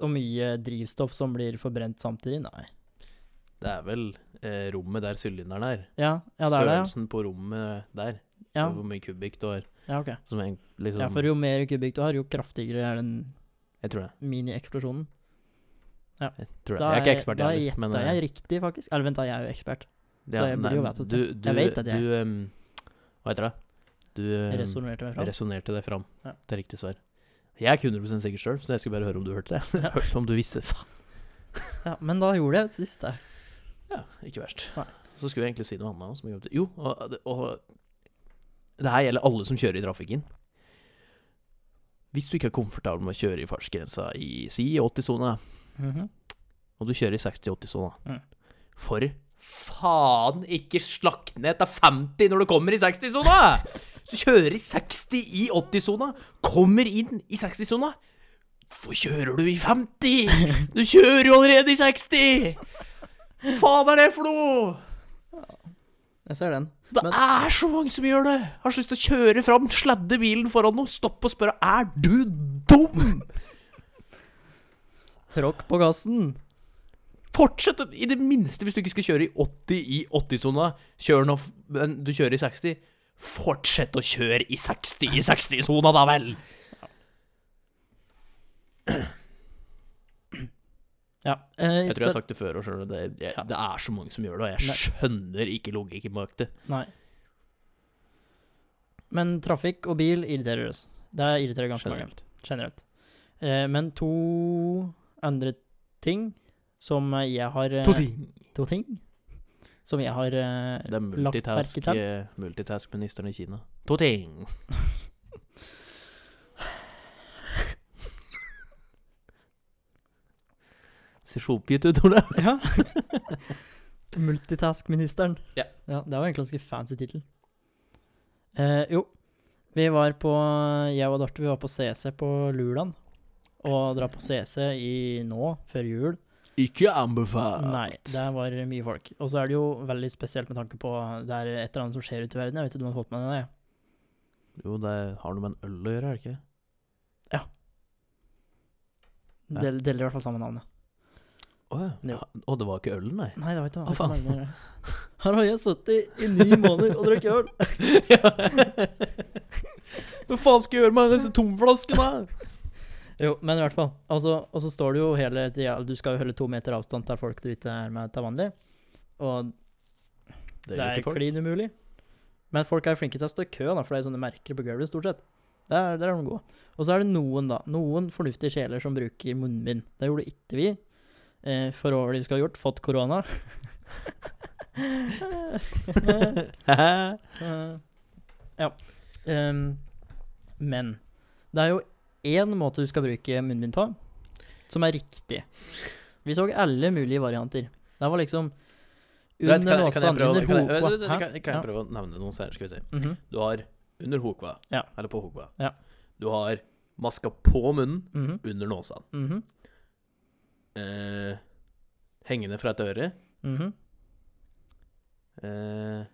Hvor mye drivstoff som blir forbrent samtidig, nei.
Det er vel eh, rommet der sylinderen er.
Ja, ja det er det.
Størrelsen på rommet der.
Ja,
og Hvor mye kubikk du har.
ja ok.
Som er liksom
Ja, for jo mer kubikk du har, jo kraftigere er den
Jeg tror det.
mini-eksplosjonen.
Tror det. Jeg er ikke ekspert,
da
jeg
gjetter jeg riktig, faktisk. Eller vent, da, jeg er jo ekspert.
det er-
så jeg burde
eh, nei,
jo vite at
du,
det-
du,
jeg vet at jeg-
Du em, Hva heter det? Du
Jeg
em,
resonnerte meg fram.
resonnerte deg fram
Ja.
til riktig svar. Jeg er ikke 100 sikker sjøl, så jeg skulle bare høre om du hørte det. Jeg <laughs> hørte om du visste. Faen.
Ja, men da gjorde jeg det sist, da.
Ja, ikke verst.
Nei.
Så skulle jeg egentlig si noe annet. også, Som jeg glemte. jo, og, og det her gjelder alle som kjører i trafikken. Hvis du ikke er komfortabel med å kjøre i fartsgrensa i si 80-sona,
Mhm.
og du kjører i 60-80-sona
Mm.
For faen ikke slakk ned til 50 når du kommer i 60-sona! Hvis du kjører i 60 i 80-sona, kommer inn i 60-sona Hvorfor kjører du i 50? Du kjører jo allerede i 60! Faen er det for noe?
Jeg ser den.
Det
Men-
er så mange som gjør det! Har så lyst til å kjøre fram, sladde bilen foran dem, stoppe og spørre Er du dum?!
Tråkk på gassen!
Fortsett å- i det minste hvis du ikke skal kjøre i 80 i 80-sona. Kjør nå f- Men du kjører i 60. Fortsett å kjøre i 60 i 60-sona, da vel!
Ja. eh,
Jeg tror jeg har sagt det før òg, sjøl. Det, jeg-
Ja.
det er så mange som gjør det, og jeg skjønner ikke logikken bak det.
Nei. Men trafikk og bil irriterer oss. Det irriterer ganske mange.
Generelt.
Generelt. Eh, men to andre ting som jeg har eh,
To ting.
To ting som jeg har eh,
Det er
lagt merke
multitask,
til.
eh, multitask-ministeren i Kina. To
<laughs>
ting. Ser så oppgitt ut, Ole.
Ja. Multitask-ministeren.
Ja.
Det var egentlig en ganske fancy tittel. Eh, jo, vi var på Jeg og Dorthe vi var på CC på Luland. Og dra på CC i nå, før jul,
Ikke anbefalt.
Nei, det var mye folk. Og så er det jo veldig spesielt med tanke på det er et eller annet som skjer ute i verden. Jeg vet ikke om du har fått med deg det?
Jo, det har noe med en øl å gjøre, er det ikke? Ja.
Del, deler i hvert fall samme navnet.
Å
Jo.
ja. Å, det var ikke ølen,
<laughs>
nei.
Nei, det var ikke
Å, faen.
det. Her har jeg sittet i ni måneder og drukket øl!
Ja. Hva faen skal jeg gjøre med disse tomflaskene? her?
Jo, men i hvert fall. Altså, og så står du jo hele tida Du skal jo holde to meter avstand til folk du ikke er med til vanlig. Og <laughs> det,
gjør
er
ikke folk. <laughs>
klin umulig. Men folk er flinke til å stå i kø, da, for det er jo sånne merker på gulvet, stort sett. Der, der er de gode. Og så er det noen, da. Noen fornuftige sjeler som bruker munnbind. Det gjorde ikke vi. Eh, for hva var det vi skulle ha gjort? Fått korona? <laughs>
Hæ?
Eh, ja. Ehm, men det er jo én måte du skal bruke munnbind på, som er riktig. Vi så alle mulige varianter. Det var liksom
Du vet,
under
kan,
nåsa,
kan jeg prøve,
under
kan jeg, vet du,
hopa.
kan,
Hæ?
kan
Ja.
jeg prøve å nevne noen her? Skal vi se.
Mhm,
Du har under hokva,
Ja.
eller på hokva.
Ja.
Du har maska på munnen,
mhm,
under nåsa.
mhm,
Eh, hengende fra et øre.
mhm.
Eh,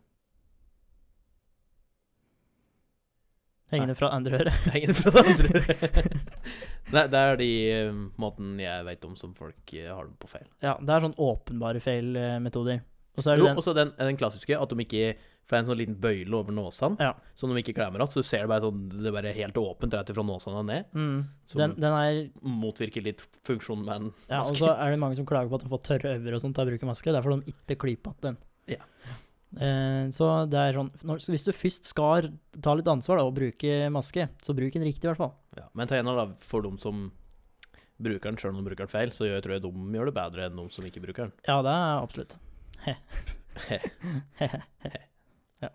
<laughs>
Hengende fra andre øret. <laughs>
hengende fra det andre øret. <laughs> Nei, det er de eh, måten jeg vet om som folk eh, har dem på feil.
Ja, det er sånn åpenbare feil eh, metoder. Og så er det
Jo,
den
også den, den klassiske, at de ikke For det er en sånn liten bøyle over nåsan,
Ja.
som de ikke klemmer att. Så du ser det bare sånn Det er bare helt åpent rett ifra nåsan og ned.
mm,
Som
den, den er
motvirker litt funksjonen med en
Ja, og så er det mange som klager på at de får tørre øyne og sånt av å bruke maske. Det er fordi de ikke klyper igjen den.
Ja.
Eh, så det er sånn når, så Hvis du først skal ta litt ansvar da, og bruke maske, så bruk den riktig, i hvert fall.
Ja, men til gjengjeld, da, for de som bruker den, sjøl om de bruker den feil, så gjør, tror jeg de gjør det bedre enn de som ikke bruker den.
Ja, det er absolutt.
He.
ja.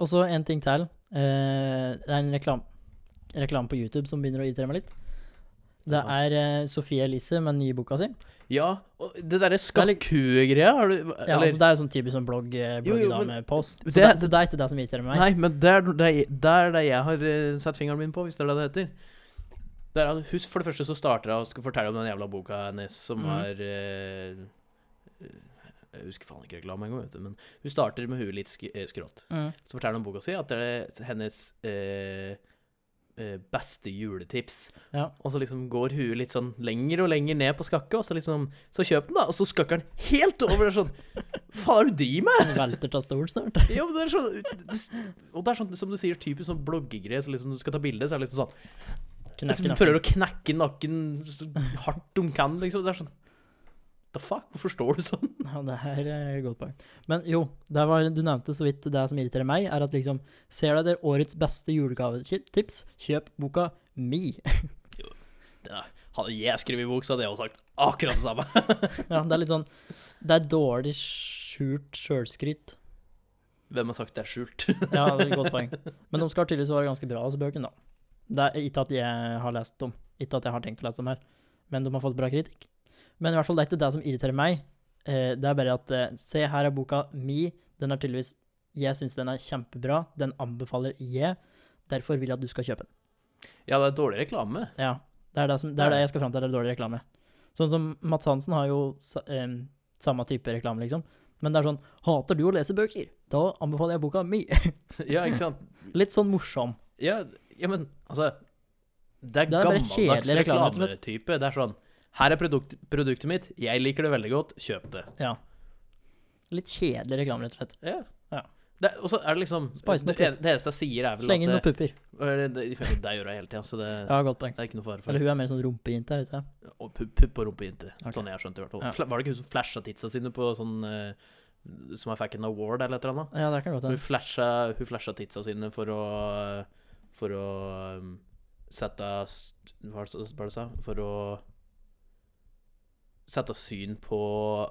Og så en ting til. Eh, det er en reklam, reklame på YouTube som begynner å irritere meg litt. Det
Ja.
er eh, Sofie Elise med den nye boka si.
Ja, og det derre skakku-greia, har du
Ja,
eller-
altså, det er jo sånn typisk sånn blogg, eh,
Jo, jo,
bloggedame-pose. Så,
det-
det- så det er ikke det som irriterer meg.
Nei, men det er det, er- det er det jeg har eh, satt fingeren min på, hvis det er det det heter. Det er, husk, for det første så starter jeg og skal fortelle om den jævla boka hennes som
Mhm.
er eh, eh, Jeg husker faen ikke reklame engang, vet du, men hun starter med huet litt sk eh, skrått.
Mm.
Så forteller hun om boka si at det er hennes eh, eh, beste juletips.
Ja.
Og så liksom går huet litt sånn lenger og lenger ned på skakket, og så liksom Så kjøp den, da, og så skakker den helt over der sånn Faen, er det du driver med?
Hun velter av stolen snart.
Jo, men det er sånn det, Og det er sånn som du sier, typisk sånn bloggegreie, så liksom du skal ta bilde, så er det liksom sånn
Knekke
Du
nakken.
prøver å knekke nakken så hardt du kan, liksom. Det er sånn The fuck? Hvorfor står du sånn?
Ja, det her er et godt poeng. Men jo, det var, du nevnte så vidt det som irriterer meg, er at liksom Ser du etter årets beste julegavetips, kjøp boka mi. <laughs>
Hadde jeg skrevet bok, så hadde jeg også sagt akkurat det samme. <laughs>
Ja, det er litt sånn Det er dårlig skjult sjølskryt.
Hvem har sagt det er skjult?
<laughs> Ja, det er et godt poeng. Men de skal tydeligvis være ganske bra, altså, bøkene, da. Det er ikke at jeg har lest dem, ikke at jeg har tenkt å lese dem her, men de har fått bra kritikk. Men i hvert fall, det er ikke det som irriterer meg. Eh, det er bare at eh, Se, her er boka mi. Den er tydeligvis Jeg syns den er kjempebra. Den anbefaler jeg. Derfor vil jeg at du skal kjøpe den.
Ja, det er dårlig reklame.
Ja. Det er det, som, det, er det jeg skal fram til, det er dårlig reklame. Sånn som Mads Hansen har jo sa- em, samme type reklame, liksom. Men det er sånn Hater du å lese bøker? Da anbefaler jeg boka mi. <laughs>
<laughs> Ja, ikke sant?
Litt sånn morsom.
Ja, ja men altså Det er,
Det er bare
gammeldags
kjedelig reklame, rett og slett.
reklametype. Det er sånn Her er produkt, produktet mitt, jeg liker det veldig godt, kjøp det.
Ja. Litt kjedelig reklame, rett og slett.
Ja.
Ja.
Det, og så er det liksom
Spice
det,
den opp litt.
det eneste jeg sier, er vel
Sleng inn noen
at
pupper.
det, det, det, det gjør jeg hele tida, så det,
Ja, godt poeng.
det er ikke noe fare for
Eller hun er mer sånn rumpejente, er det ikke? det?
Og pupp pupp og rumpejente.
Ok.
Sånn jeg har skjønt det, i hvert fall.
Ja.
Fla- Var det ikke hun som flasha titsa sine på sånn eh, Som jeg fikk en award eller et eller annet?
Ja, det kan godt
Hun
hende.
flasha, hun flasha titsa sine for å For å um, sette st- Hva var det hva var det du sa? For å sette syn på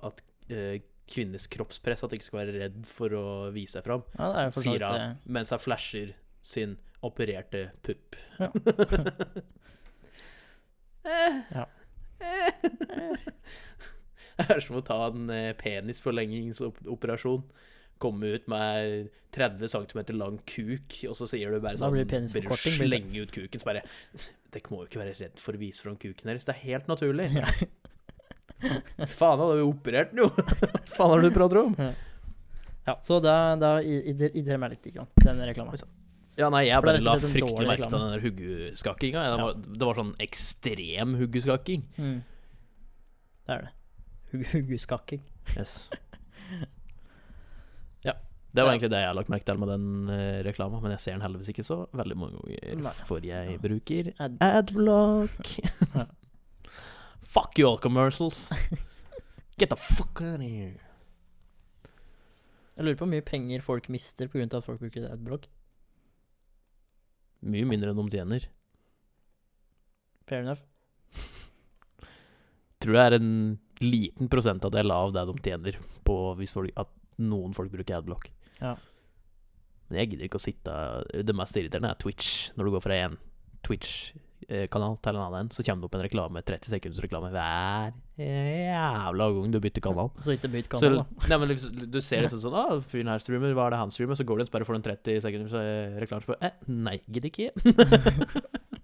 at eh, kvinners kroppspress, at de ikke skal være redd for å vise seg fram,
Ja, det er jo for så
sier
vidt
hun
eh,
mens hun flasher sin opererte pupp. <laughs>
Ja. Ja.
Det er som å ta en eh, penisforlengingsoperasjon. Komme ut med 30 cm lang kuk, og så sier du bare
Da
sånn
blir det penisforkorting, blir det.
Slenge ut kuken, så bare Dere må jo ikke være redd for å vise fram kuken deres, det er helt naturlig.
Ja.
Faen, hadde vi operert
<laughs>
den jo! Faen har du prater om? <laughs>
ja, så da, da irriterer meg litt, ikke sant, den reklama.
Ja, nei, jeg
For det er
bare
rett og
la
slett en
fryktelig
dårlig
merke til den
reklame.
der huggeskakkinga. Det,
Ja.
var- det var sånn ekstrem huggeskakking.
Mm.
<laughs>
Det er det. Hugg- Huggeskakking.
Yes. Det var
Ja.
egentlig det jeg har lagt merke til med den eh, reklama, men jeg ser den heldigvis ikke så veldig mange ganger.
Nei.
For jeg
Ja.
bruker
Ad-
adblock.
Ja.
fuck you all
<laughs>
commercials. Get the fuck out of here.
Jeg lurer på hvor mye penger folk mister pga. at folk bruker adblock.
Mye mindre enn de tjener.
Fair enough.
Tror det er en liten prosentandel av det de tjener på hvis folk, at noen folk bruker adblock.
Ja.
Men jeg gidder ikke å sitte Det mest irriterende er Twitch. Når du går fra en Twitch-kanal til en annen, så kommer det opp en reklame, 30 sekunders reklame hver jævla gang du bytter kanal.
Så ikke bytt
Så,
kanal, da.
nei, men liksom, du ser liksom sånn Å, fyren her streamer, hva er det han streamer? Så går du inn, bare får du en 30 sekunder så er reklame. Så bare eh, Nei, gidder ikke.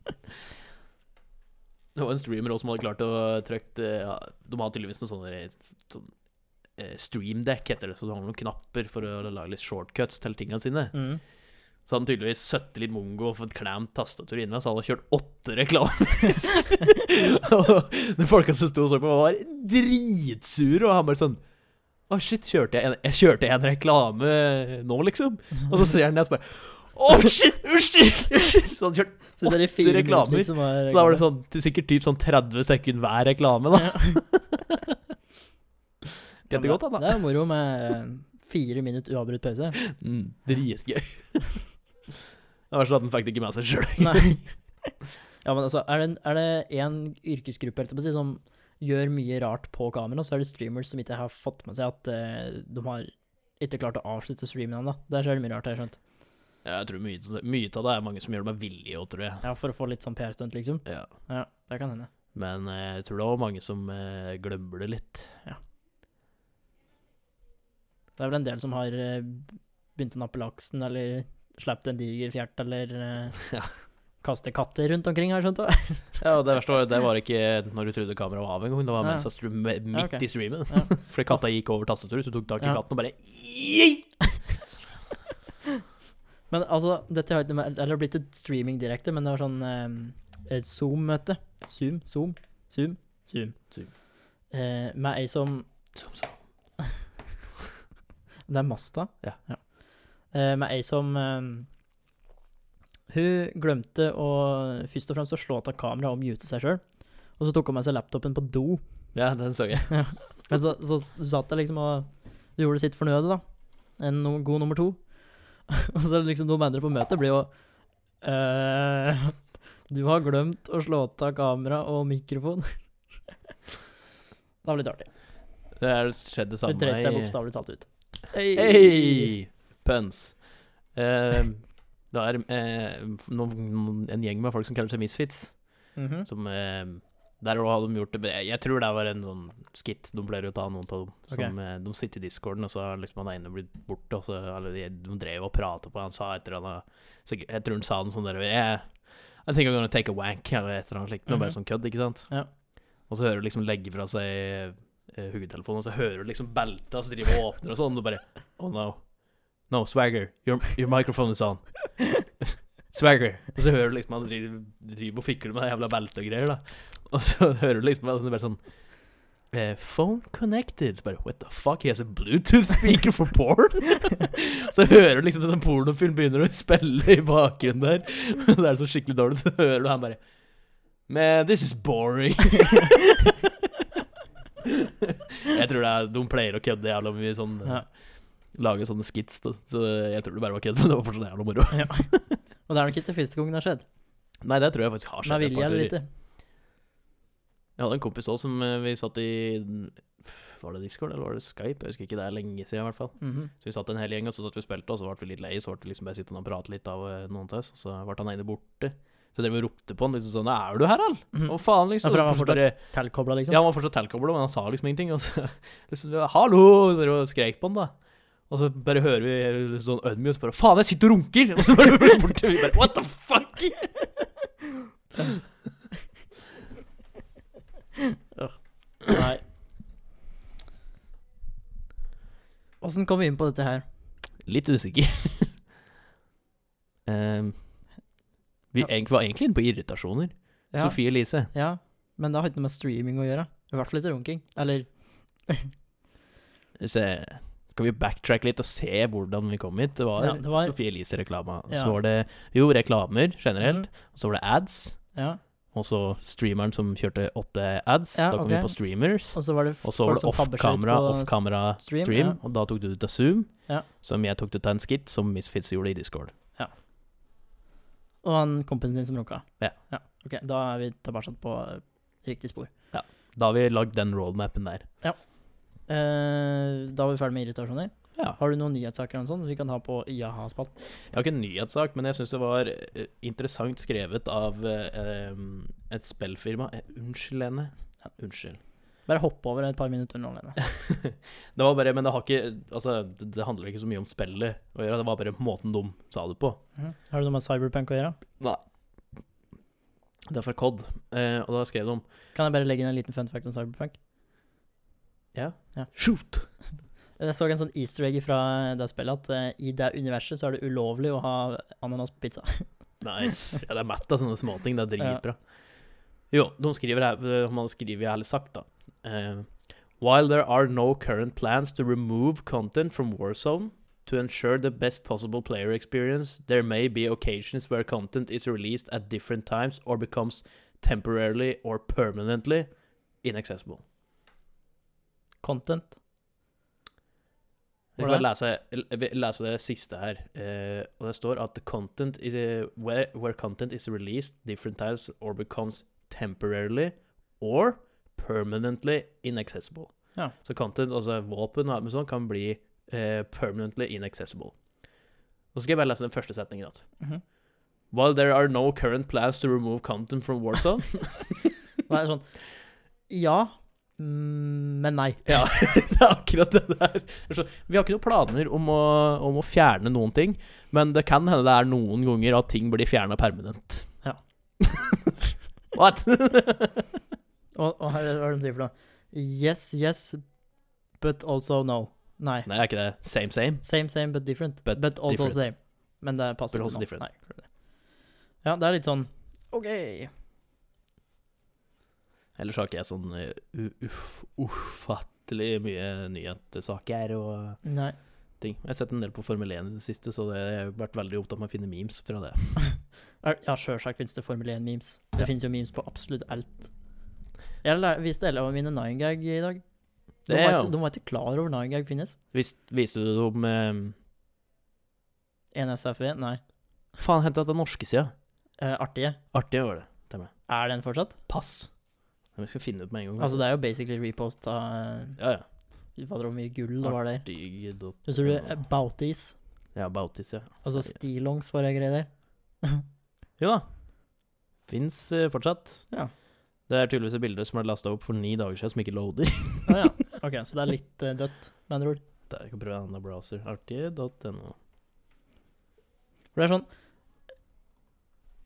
det var en streamer også som hadde klart å trykke ja, De har tydeligvis noe sånn, sånn eh, Streamdeck heter det, så du har noen knapper for å lage litt shortcuts til tingene sine.
Mm. Så
Så hadde han tydeligvis søtte litt mongo og fått klemt tastatur inni, så hadde han kjørt åtte reklamer. <laughs> og de folka som sto og så på, var dritsure, og han bare sånn Å, shit, kjørte jeg en, jeg kjørte en reklame nå, liksom? Og
<laughs>
så ser han det, og så bare Å, shit! Unnskyld! Unnskyld! Så han kjørte
det er de fire
reklamer.
minutter som er
Så da var det sånn, sikkert typ sånn 30 sekunder hver reklame, da. <laughs> Tjente godt, han, da.
Det er moro med eh, fire minutter uavbrutt pause.
Mm, dritgøy. Det var sånn at han fikk det ikke med seg sjøl.
Nei. <laughs> Ja, men altså, er det, en- er det en yrkesgruppe helt, å si, som gjør mye rart på kamera, så er det streamers som ikke har fått med seg at eh, de har ikke klart å avslutte streamen ennå. Der skjer det mye rart, har jeg skjønt.
Jeg tror mye, mye av det er mange som gjør det med vilje òg, tror jeg.
Ja, For å få litt sånn PR-stunt, liksom.
Ja.
Ja, det kan hende.
Men eh, jeg tror det er også mange som eh, glemmer det litt.
Det er vel en del som har eh, begynt å nappe laksen, eller sluppet en diger fjert, eller eh,
<laughs> Ja.
kaste katter rundt omkring, har jeg skjønt. da.
Ja, og Det verste var det var ikke når du trodde kameraet var av engang. Det var
Ja.
mens jeg stream, midt
Ja, ok.
i streamen.
Ja.
<laughs> Fordi katta gikk over tastaturet, så du tok tak i
Ja.
katten og bare «Ii!»
Men altså, dette har ikke med Eller det har blitt et streaming direkte, men det var sånn eh, et Zoom-møte. Zoom, Zoom, Zoom, Zoom.
Zoom.
Eh, med ei som
Som sa,
<laughs> Det er Masta.
Ja.
Eh, med ei som eh, Hun glemte å først og fremst å slå av kameraet og mute seg sjøl. Og så tok hun med seg laptopen på do.
Ja, den så jeg.
Men så, så satt jeg liksom og du gjorde sitt fornøde, da. En no god nummer to. <laughs> og så liksom noen andre på møtet blir jo «Eh, <laughs> Du har glemt å slå av kamera og mikrofon. <laughs> det var litt artig.
Det er skjedd det
Hun
samme
dreit seg
i-
bokstavelig talt ut.
Hei! Pøns. Eh, det er eh, noen, en gjeng med folk som kaller seg misfits.
Mhm.
Som eh, Der også hadde de gjort det men Jeg jeg tror det var en sånn skit de pleier å ta, noen av dem.
Ok.
Som, eh, de sitter i discorden, og så har liksom han ene blitt borte, og så eller, de, de drev og prata på Han sa et eller annet så, Jeg tror han sa noe sånn der «Eh, I think I'm gonna take a wank, eller et eller annet slikt. Noe bare
Mhm.
sånn kødd, ikke sant?
Ja.
Og så hører du liksom legge fra seg eh, hodetelefonen, og så hører du liksom belta som driver og åpner og sånn, og du bare Oh no. No, swagger. Your, your microphone is on. <laughs> Swagger. Og så hører du liksom han driver, driver og fikler med det jævla beltet og greier, da. <laughs> Og så hører du liksom at det er bare sånn eh, Phone connected. Så bare What the fuck? He has a Bluetooth speaker for porn? <laughs> så hører du liksom en sånn pornofilm begynner å spille i bakgrunnen der. <laughs> Og så er det så skikkelig dårlig, så hører du han bare Man, this is boring. <laughs> Jeg tror det er, de pleier å kødde jævla mye sånn
Ja.
Lage sånne skits, da. Så jeg tror det bare var kødd, men det var fortsatt jævla moro.
Og det er nok ikke første gangen det har skjedd.
Nei, det tror jeg faktisk har
Med
skjedd. et
vilje
par
eller
turer.
ikke.
Jeg hadde en kompis òg som eh, vi satt i Var det Discord eller var det Skype? Jeg husker ikke, det er lenge siden i hvert fall.
Mhm.
Så vi satt en hel gjeng, og så satt vi og spilte, og så ble vi litt lei, så ble vi liksom bare sittende og prate litt av eh, noen av oss, og så ble han ene borte. Så drev vi og ropte på han liksom sånn 'Er du her, Al?'
Mhm.
Hva faen,
Ja,
liksom?
for han
Og
var
så bare-
Tilkobla, liksom. <clears throat>
Ja, han var fortsatt tilkobla, men han sa liksom ingenting. Og så <laughs> liksom Hallo! Så drev jeg og skrek på han, da. Og så bare hører vi liksom sånn ødmyk, og så bare Faen, jeg sitter og runker! <laughs> Og så bare blir det borte. Vi bare What the fuck?
Nei. Åssen kom vi inn på dette her?
Litt usikker. <laughs> Ehm, vi
Ja.
egentlig, var egentlig inne på irritasjoner.
Ja.
Sofie Elise.
Ja, men det har ikke noe med streaming å gjøre. I hvert fall ikke runking. Eller
Se, Skal vi backtrack litt og se hvordan vi kom hit? Det var,
Ja, det var-
Sophie Elise-reklama.
Ja. Mm.
Så var det jo reklamer generelt, og så var det ads.
Ja.
Og så streameren som kjørte åtte ads.
Ja,
da kom
ok.
vi på streamers.
Og så var det f-
Og så var
folk
det
som tabber seg ut
off-kamera,
på-
off-kamera stream,
stream, ja.
og da tok du det til Zoom,
Ja.
som jeg tok det til en skit som Misfits gjorde i Discord.
Og han kompisen din som runka?
Ja.
Ok, da er vi tilbake på eh, riktig spor.
Da har vi lagd den roadmappen der.
Eh, da var vi ferdig med irritasjoner.
Ja.
Har du noen nyhetssaker eller noe sånt vi kan ha på jaha-spalten?
Jeg har ikke en nyhetssak, men jeg syns det var eh, interessant skrevet av eh, em, et spillfirma. Eh, Unnskyld, Lene.
Ja.
Unnskyld.
Bare hopp over et par minutter nå, Lene.
Det var bare, men det har ikke Altså, det det handler ikke så mye om spillet å gjøre, det var bare måten de sa det på.
Mhm. Har du noe med Cyberpunk å gjøre?
Det er fra COD, eh, og da skrev de
Kan jeg bare legge inn en liten fun fact om Cyberpunk?
Shoot!
Jeg så en sånn easter egg fra det spillet at eh, i det universet så er det ulovlig å ha ananas på pizza.
Nice. Ja, det er mett av sånne småting. Det er dritbra. Jo, de skriver her eh, Man skriver jævlig sagt, da. Eh, While there are no current plans to remove content from Warzone to ensure the best possible player experience, there may be occasions where content is released at different times or becomes temporarily or permanently inaccessible.
Content.
Jeg skal bare lese, l- lese det siste her. eh, og det står at the content is, eh, where, where content is released different times or becomes temporarily or permanently inaccessible.
Ja.
Så content, altså våpen og alt mulig sånt, kan bli eh, permanently inaccessible. Og så skal jeg bare lese den første setningen. igjen.
Mhm.
While there are no current plans to remove content from Warzone
Det er sånn Ja, mm, men nei.
Ja, det er <laughs> akkurat det der. Så, Vi har ikke noen planer om å, om å fjerne noen ting, men det kan hende det er noen ganger at ting blir fjerna permanent.
Ja.
<laughs> What?
<laughs> Og, og her, hva er det de sier for noe? Yes, yes, but also no. Nei.
Nei, er ikke det same same?
Same, same, but different.
But
But, also
different.
same. Men det passer
But
ikke
also
nå.
different.
Nei, gjør det. Ja, det er litt sånn OK.
Ellers har ikke jeg sånn eh, u- uff, ufattelig mye nyhetssaker og
Nei.
ting. Jeg har sett en del på Formel 1 i det siste, så det, jeg har vært veldig opptatt med å finne memes fra det.
Er- Ja, sjølsagt finnes det Formel 1-memes. Det
Ja.
finnes jo memes på absolutt alt. Jeg lær- viste alle mine 9-gag i dag. De
Det er
var,
jo-
ikke, de var ikke klar over 9-gag finnes.
Vis, viste du det om eh,
NSFE? Nei.
Faen, henta den norske sida.
Eh, artige.
Artig var det.
Er den fortsatt?
Pass. Jeg skal finne ut med en gang.
Altså, det er jo basically repost av eh,
Ja, ja.
Hva det var mye gull det var der.
Dyg.no.
Husker du eh, Bouties?
Ja, Bautis, ja.
Altså stillongs var det greier der.
Jo da. Fins eh, fortsatt.
Ja.
Det er tydeligvis et bilde som ble lasta opp for ni dager siden, som ikke loader. <laughs>
Å ja. OK, så det er litt eh, dødt, med andre ord.
Det er ikke å prøve en annen browser. Artig.no.
For det er sånn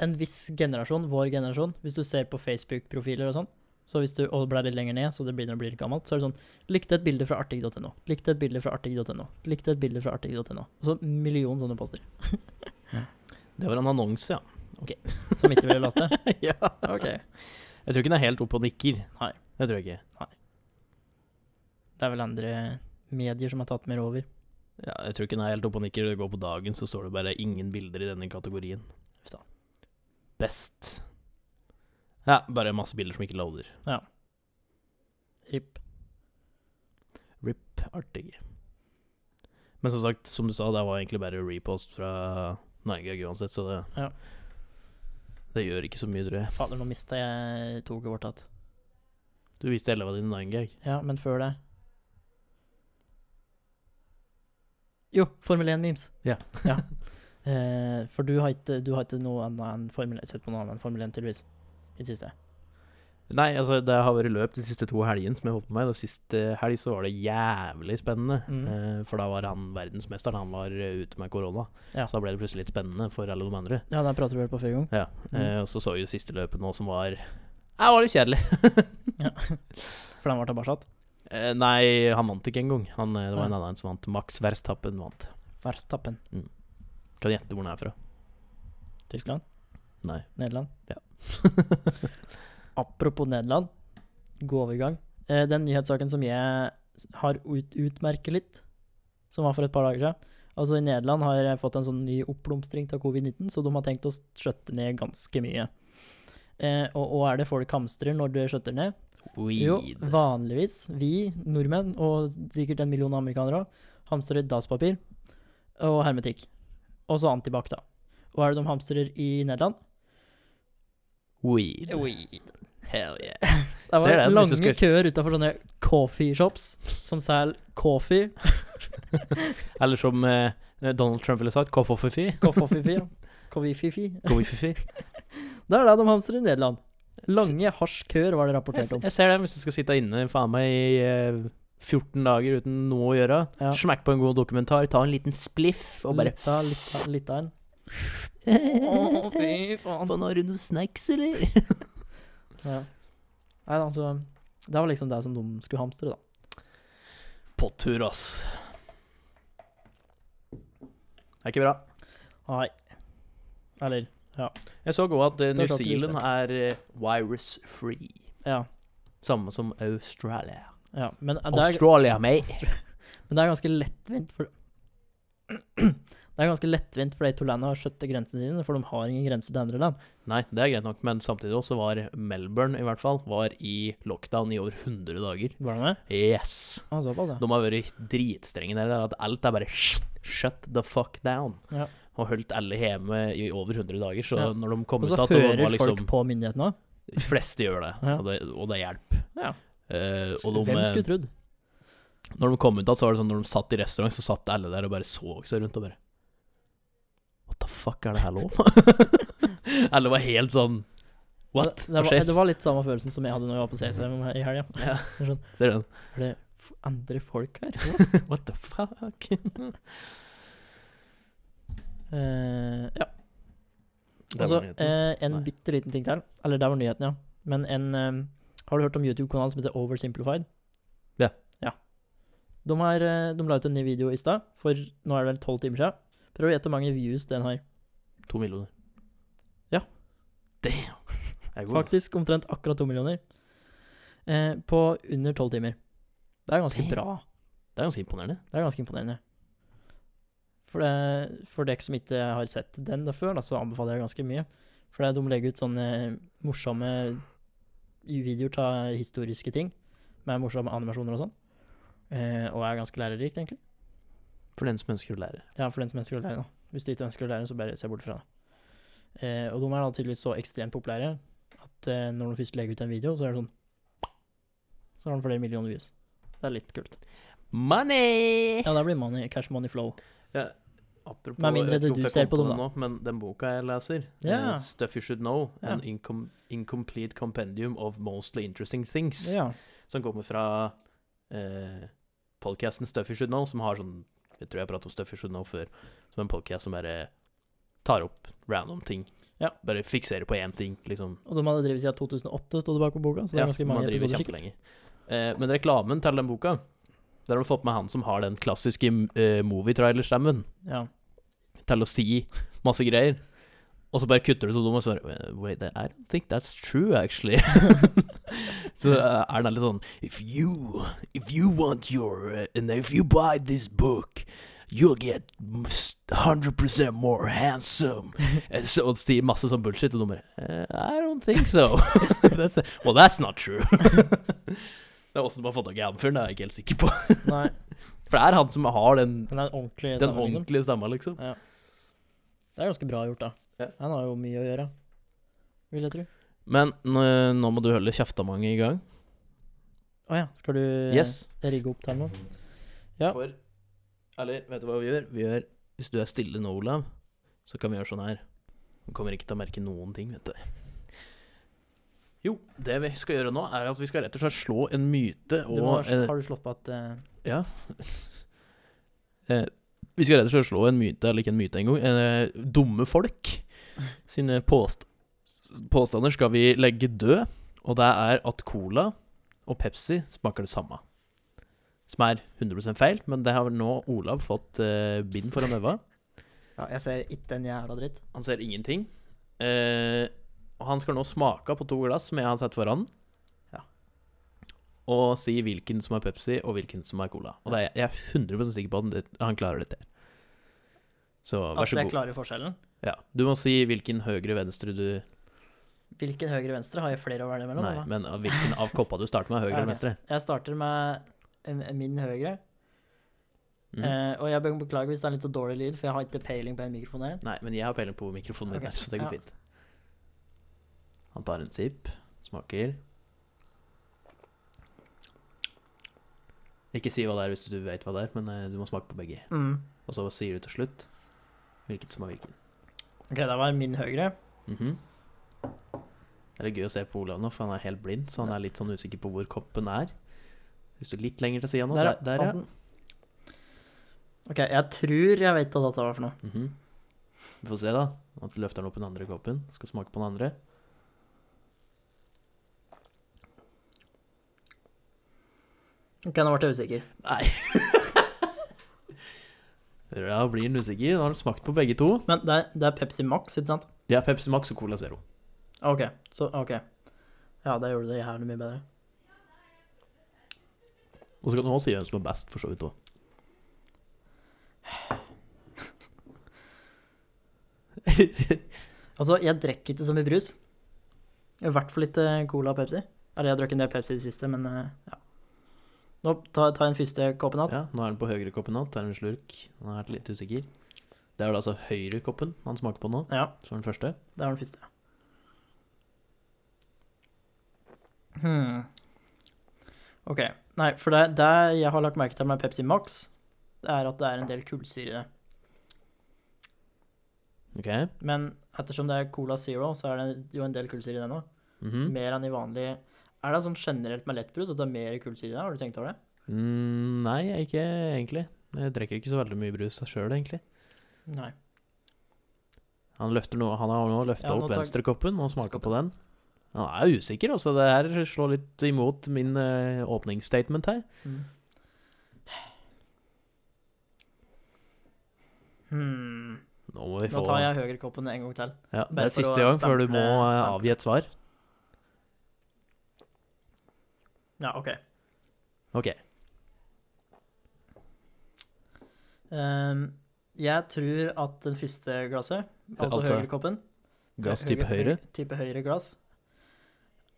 En viss generasjon, vår generasjon, hvis du ser på Facebook-profiler og sånn, så hvis du, og blar litt lenger ned, så det begynner å bli litt gammelt, så er det sånn Likte et bilde fra artig.no. Likte et bilde fra artig.no. Likte et bilde fra artig.no. Og så en million sånne poster
Det var en annonse, ja.
som ikke ville <laughs> laste.
ja. Jeg tror ikke den er helt oppe og nikker.
Nei.
Det tror jeg ikke.
Det er vel andre medier som har tatt mer over.
Ja, jeg tror ikke den er helt oppe og nikker. Det går på dagen, så står det bare 'ingen bilder i denne kategorien'.
Uff da.
Best. Ja, bare masse bilder som ikke loader.
RIP.
RIP artig. Men som sagt, som du sa, det var egentlig bare repost fra Nygag uansett, så det
Ja.
Det gjør ikke så mye, tror jeg.
Fader, nå mista jeg toget vårt igjen.
Du viste elva dine Nygag.
Ja, men før det Jo, Formel 1-memes. <laughs>
Ja.
Eh, for du har ikke, du har ikke noe annet enn Formel, sett på noe annet enn Formel 1, tydeligvis, i det siste.
Nei, altså, det har vært løp de siste to helgene som jeg holdt på med. Og sist eh, helg så var det jævlig spennende,
Mhm.
eh, for da var han verdensmesteren. Han var eh, ute med korona,
Ja.
så da ble det plutselig litt spennende for alle de andre.
Ja, der prater du vel på forrige gang.
Ja,
Mhm.
eh, Og så så vi det siste løpet nå, som var Ja, var litt kjedelig.
For den var tilbake.
Eh, nei, han vant ikke engang. Han, eh, Det var en
Ja.
annen som vant. Max Verstappen vant.
Verstappen.
Kan gjette hvor han er fra.
Tyskland?
Nei.
Nederland?
Ja.
<laughs> Apropos Nederland, god overgang. Eh, den nyhetssaken som jeg s- har ut, utmerket litt, som var for et par dager siden. Altså I Nederland har jeg fått en sånn ny oppblomstring av covid-19, så de har tenkt å skjøtte ned ganske mye. Eh, og, og er det folk hamstrer når det skjøtter ned? Jo,
Weed.
vanligvis. Vi nordmenn, og sikkert en million amerikanere òg, hamstrer dasspapir og hermetikk. Og så antibac, da. Og hva er det de hamstrer i Nederland?
Weed.
Weed.
Hell yeah.
<laughs> Det
Ser
var
den, hvis
lange
du skal-
køer utafor sånne coffee shops som selger coffee.
Eller som eh, Donald Trump ville sagt, koffofifi.
Coffee-fi,
<laughs>
ja. Coffee-fi-fi.
Koffififi.
Det er det de hamstrer i Nederland. Lange hasjkøer var det
Jeg,
rapportert om.
jeg ser det hvis du skal sitte inne faen meg i eh, 14 dager uten noe å gjøre.
Ja.
Smekk på en god dokumentar, ta en liten spliff og bare
Litt av- litt
<laughs>
av- litt av en. Å,
Faen,
fy faen.
har du noen snacks, <laughs> eller?
Ja. Nei, altså Det var liksom det som de skulle hamstre, da.
På tur, ass. Det er ikke bra.
Nei. Eller
Jeg så òg at eh, New
Det er klart det er
Zealand er eh, virus-free.
Ja.
Samme som Australia.
ja. Men, eh, det er,
Australia, mate!
men det er ganske lettvint for <clears throat> Det er ganske lettvint for de to landene å skjøtte grensene sine, for de har ingen grenser til andre land.
Nei, det er greit nok, men samtidig også var Melbourne, i hvert fall, var i lockdown i over 100 dager.
Var det med?
Yes!
Ah, såpass, ja.
De har vært dritstrenge der, der at alt er bare sh- shut the fuck down.
Ja.
Og holdt alle hjemme i over 100 dager, så
Ja.
når de kom
Og
ut
så
at det
hører
var liksom
folk på myndighetene òg.
De fleste gjør det,
Ja.
og det, og det hjelper.
Ja.
Eh, og de,
Hvem skulle trodd?
når de kom ut, da, så var det sånn når de satt i restaurant, så satt alle der og bare så seg rundt og bare What the fuck, er det her
<laughs>
lov? Alle var helt sånn What?
Det, det,
Hva
var,
skjer?
det var litt samme følelsen som jeg hadde når jeg var på CCM i helga.
Ja.
Sånn,
Ser du den?
Er det f- andre folk her? <laughs>
What the fuck?
Eh, ja.
Det
Og så
var nyheten.
eh, en
Nei.
bitte liten ting til. Eller der var nyheten, ja. Men en eh, Har du hørt om YouTube-kanalen som heter Oversimplified?
Ja.
ja. De, har, eh, de la ut en ny video i stad, for nå er det vel tolv timer siden. Prøv å gjette hvor mange views den har.
To millioner.
Ja.
Damn. Jeg er god, ass.
Faktisk omtrent akkurat to millioner. Eh, på under tolv timer. Det er ganske
Damn.
bra.
Det er ganske imponerende.
Det er ganske imponerende. For, det, for dere som ikke har sett den da før, da, så anbefaler jeg ganske mye. For det er- de legger ut sånne morsomme videoer av historiske ting, med morsomme animasjoner og sånn. Eh, og er ganske lærerikt, egentlig.
For den som ønsker å lære.
Ja, for den som ønsker å lære, da. Hvis du ikke ønsker å lære, så bare se bort fra det. Eh, og de er da tydeligvis så ekstremt populære at eh, når de først legger ut en video, så er det sånn Så har de flere millioner views. Det er litt kult.
Money!
Ja, det blir money, cash money flow.
Apropos,
Med mindre
jeg vet ikke
du
hvorfor jeg
ser
kom
på dem,
det nå, men den boka jeg leser,
Ja.
eh, 'Stuff You Should Know',
Ja.
an incom incomplete compendium of mostly interesting things,
Ja.
som kommer fra eh, podcasten 'Stuff You Should Know', som har sånn Jeg tror jeg har pratet om 'Stuff You Should Know' før, som en podcast som bare tar opp random ting.
Ja.
Bare fikserer på én ting, liksom.
Og de hadde drevet siden 2008, stod det bak på boka. Så det er ganske mange
man driver
episoder sikkert.
kjempelenge. Eh, men reklamen til den boka, der har de fått med han som har den klassiske eh, movietrailerstemmen
Ja.
til å si masse greier. Og så bare kutter du så dum og svarer Wait, I don't think that's true, actually. <laughs> så eh, er den litt sånn If you, if you want your eh, And if you buy this book You'll get mus- 100% more handsome <laughs> Eh, Så og sier masse sånn bullshit Og de bare eh, I don't think so <laughs> that's a, Well, that's not true <laughs> Det er også de har fått tak i han fyren, Det er jeg ikke helt sikker på
Nei,
For det er han som har den,
den er ordentlig.
den
stemmer, liksom.
ordentlige stemmen liksom
Ja. Det er ganske bra gjort, da.
Ja.
Han har jo mye å gjøre, vil jeg tro.
Men nå, nå må du holde kjeftamanget i gang
Å ja, skal du eh,
Yes
rigge opp til noe? Ja.
For Eller, vet du hva vi gjør? Vi gjør Hvis du er stille nå, Olav, så kan vi gjøre sånn her. Du kommer ikke til å merke noen ting, vet du. Jo, det vi skal gjøre nå, er at vi skal rett og slett slå en myte
Du
og
må,
eh,
har du slått på at eh,
Ja. <laughs> eh, vi skal rett og slett slå en myte, eller ikke en myte engang, eh, dumme folk sine påst påstander skal vi legge død, og det er at cola og Pepsi smaker det samme. Som er 100 feil, men det har vel nå Olav fått eh, bind foran øva.
Ja, jeg ser ikke en jævla dritt.
Han ser ingenting. Eh, og han skal nå smake på to glass som jeg har sett foran.
Ja.
og si hvilken som er Pepsi, og hvilken som er Cola. Og det er, jeg er 100 sikker på at han- han klarer dette. Så vær
At
så
jeg
god.
klarer forskjellen.
Ja. Du må si hvilken høyre-venstre du
Hvilken høyre-venstre har jeg flere å velge mellom?
Nei,
da?
men av hvilken av koppa du starter
<laughs>
med, høyre
Ja,
eller
ok.
venstre.
Jeg starter med eh, min høyre.
Mm.
Eh, og jeg be- beklager hvis det er litt så dårlig lyd, for jeg har ikke peiling på den mikrofonen her.
Nei, men jeg har peiling på hvor mikrofonen min
Ok,
er, så det går
ja.
fint. Han tar en sipp, smaker. Ikke si hva det er hvis du vet hva det er, men eh, du må smake på begge.
Mm.
Og så sier du til slutt hvilket som er hvilken.
Ok, det var min høyre.
Mhm. Det er litt gøy å se på Olav nå, for han er helt blind, så han er litt sånn usikker på hvor koppen er. Hvis du er litt lenger til sida nå Der, der,
fant
ja.
den. Ok, jeg tror jeg vet hva dette var for noe.
Mhm. Vi får se, da. At du løfter den opp i den andre koppen. Skal smake på den andre.
Ok, nå ble jeg usikker.
Nei. da blir han usikker. Da har han smakt på begge to.
Men det er, det er Pepsi Max, ikke sant?
Det er Pepsi Max og Cola Zero.
Ok, så ok. Ja, det gjorde det jævlig mye bedre.
Og så kan du også si hvem som er best, for så vidt òg. <laughs>
Altså, jeg drikker ikke så mye brus. I hvert fall ikke eh, Cola og Pepsi. Eller, jeg har drukket en del Pepsi i det siste, men eh, ja. Nå tar ta jeg den første koppen igjen.
Ja, nå er han på høyre koppen nå. Tar en slurk. Han er litt usikker. Det er da altså høyre koppen han smaker på nå,
Ja.
som den første.
Det var den første. Hmm. OK. Nei, for det, det jeg har lagt merke til med Pepsi Max, det er at det er en del kullsyre i det.
OK?
Men ettersom det er Cola Zero, så er det jo en del kullsyre i den òg.
Mhm.
Mer enn i vanlig Er det sånn generelt med lettbrus at det er mer kullsyre i det? Har du tenkt over det?
mm, nei, ikke egentlig. Jeg drikker ikke så veldig mye brus sjøl, egentlig.
Nei.
Han, løfter nå- han har nå løfta
Ja, nå
opp
tar-
venstrekoppen og smaker på den. Han er usikker, altså. Det her slår litt imot min eh, åpningsstatement her.
Hmm. Hmm.
Nå må vi
Nå
få
tar jeg høyrekoppen en gang til.
ja, Det
bare
er
for
siste
å
gang før du må
stemple-
eh,
stemple.
avgi et svar.
Ja, OK.
OK.
Ehm, jeg tror at den første glasset, altså,
Altså,
høyrekoppen
Glass type høyre. <laughs>
Type høyre glass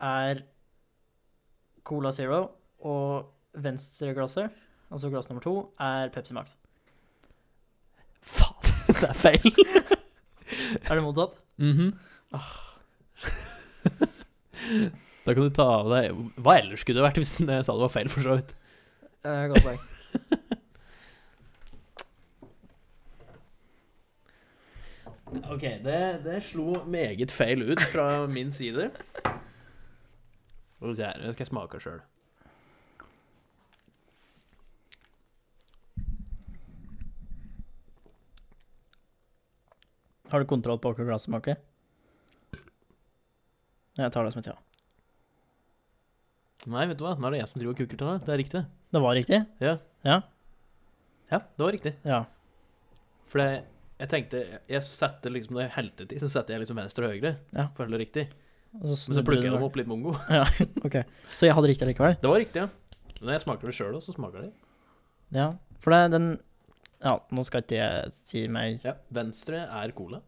er Cola Zero, og venstre glasset, altså glass nummer to, er Pepsi Max.
Faen, det er feil!
Er det motsatt? <laughs>
Mhm. <laughs> da kan du ta av deg Hva ellers skulle det vært hvis den eh, sa det var feil, for så vidt?
Eh, godt poeng.
OK, det, slo meget feil ut fra min side. Skal jeg, skal jeg smake sjøl.
Har du kontroll på hva glasset smaker? Jeg tar det som et ja.
Nei, vet du hva? Nå er det jeg som driver og kukker til deg. Det er riktig.
Det var riktig?
Ja, det var riktig.
Ja.
For det, jeg tenkte Jeg setter liksom Når jeg helte til, så setter jeg liksom venstre og høyre.
Ja.
For å holde det riktig.
Og
Men
så
så plugger jeg
snudde
dem
du-
opp litt mongo.
Ja, ok. Så jeg hadde riktig likevel?
Det var riktig, ja. Men Når jeg smaker det sjøl òg, så smaker det.
Ja. For det, den Ja, nå skal ikke jeg si meg
Ja. Venstre er cola.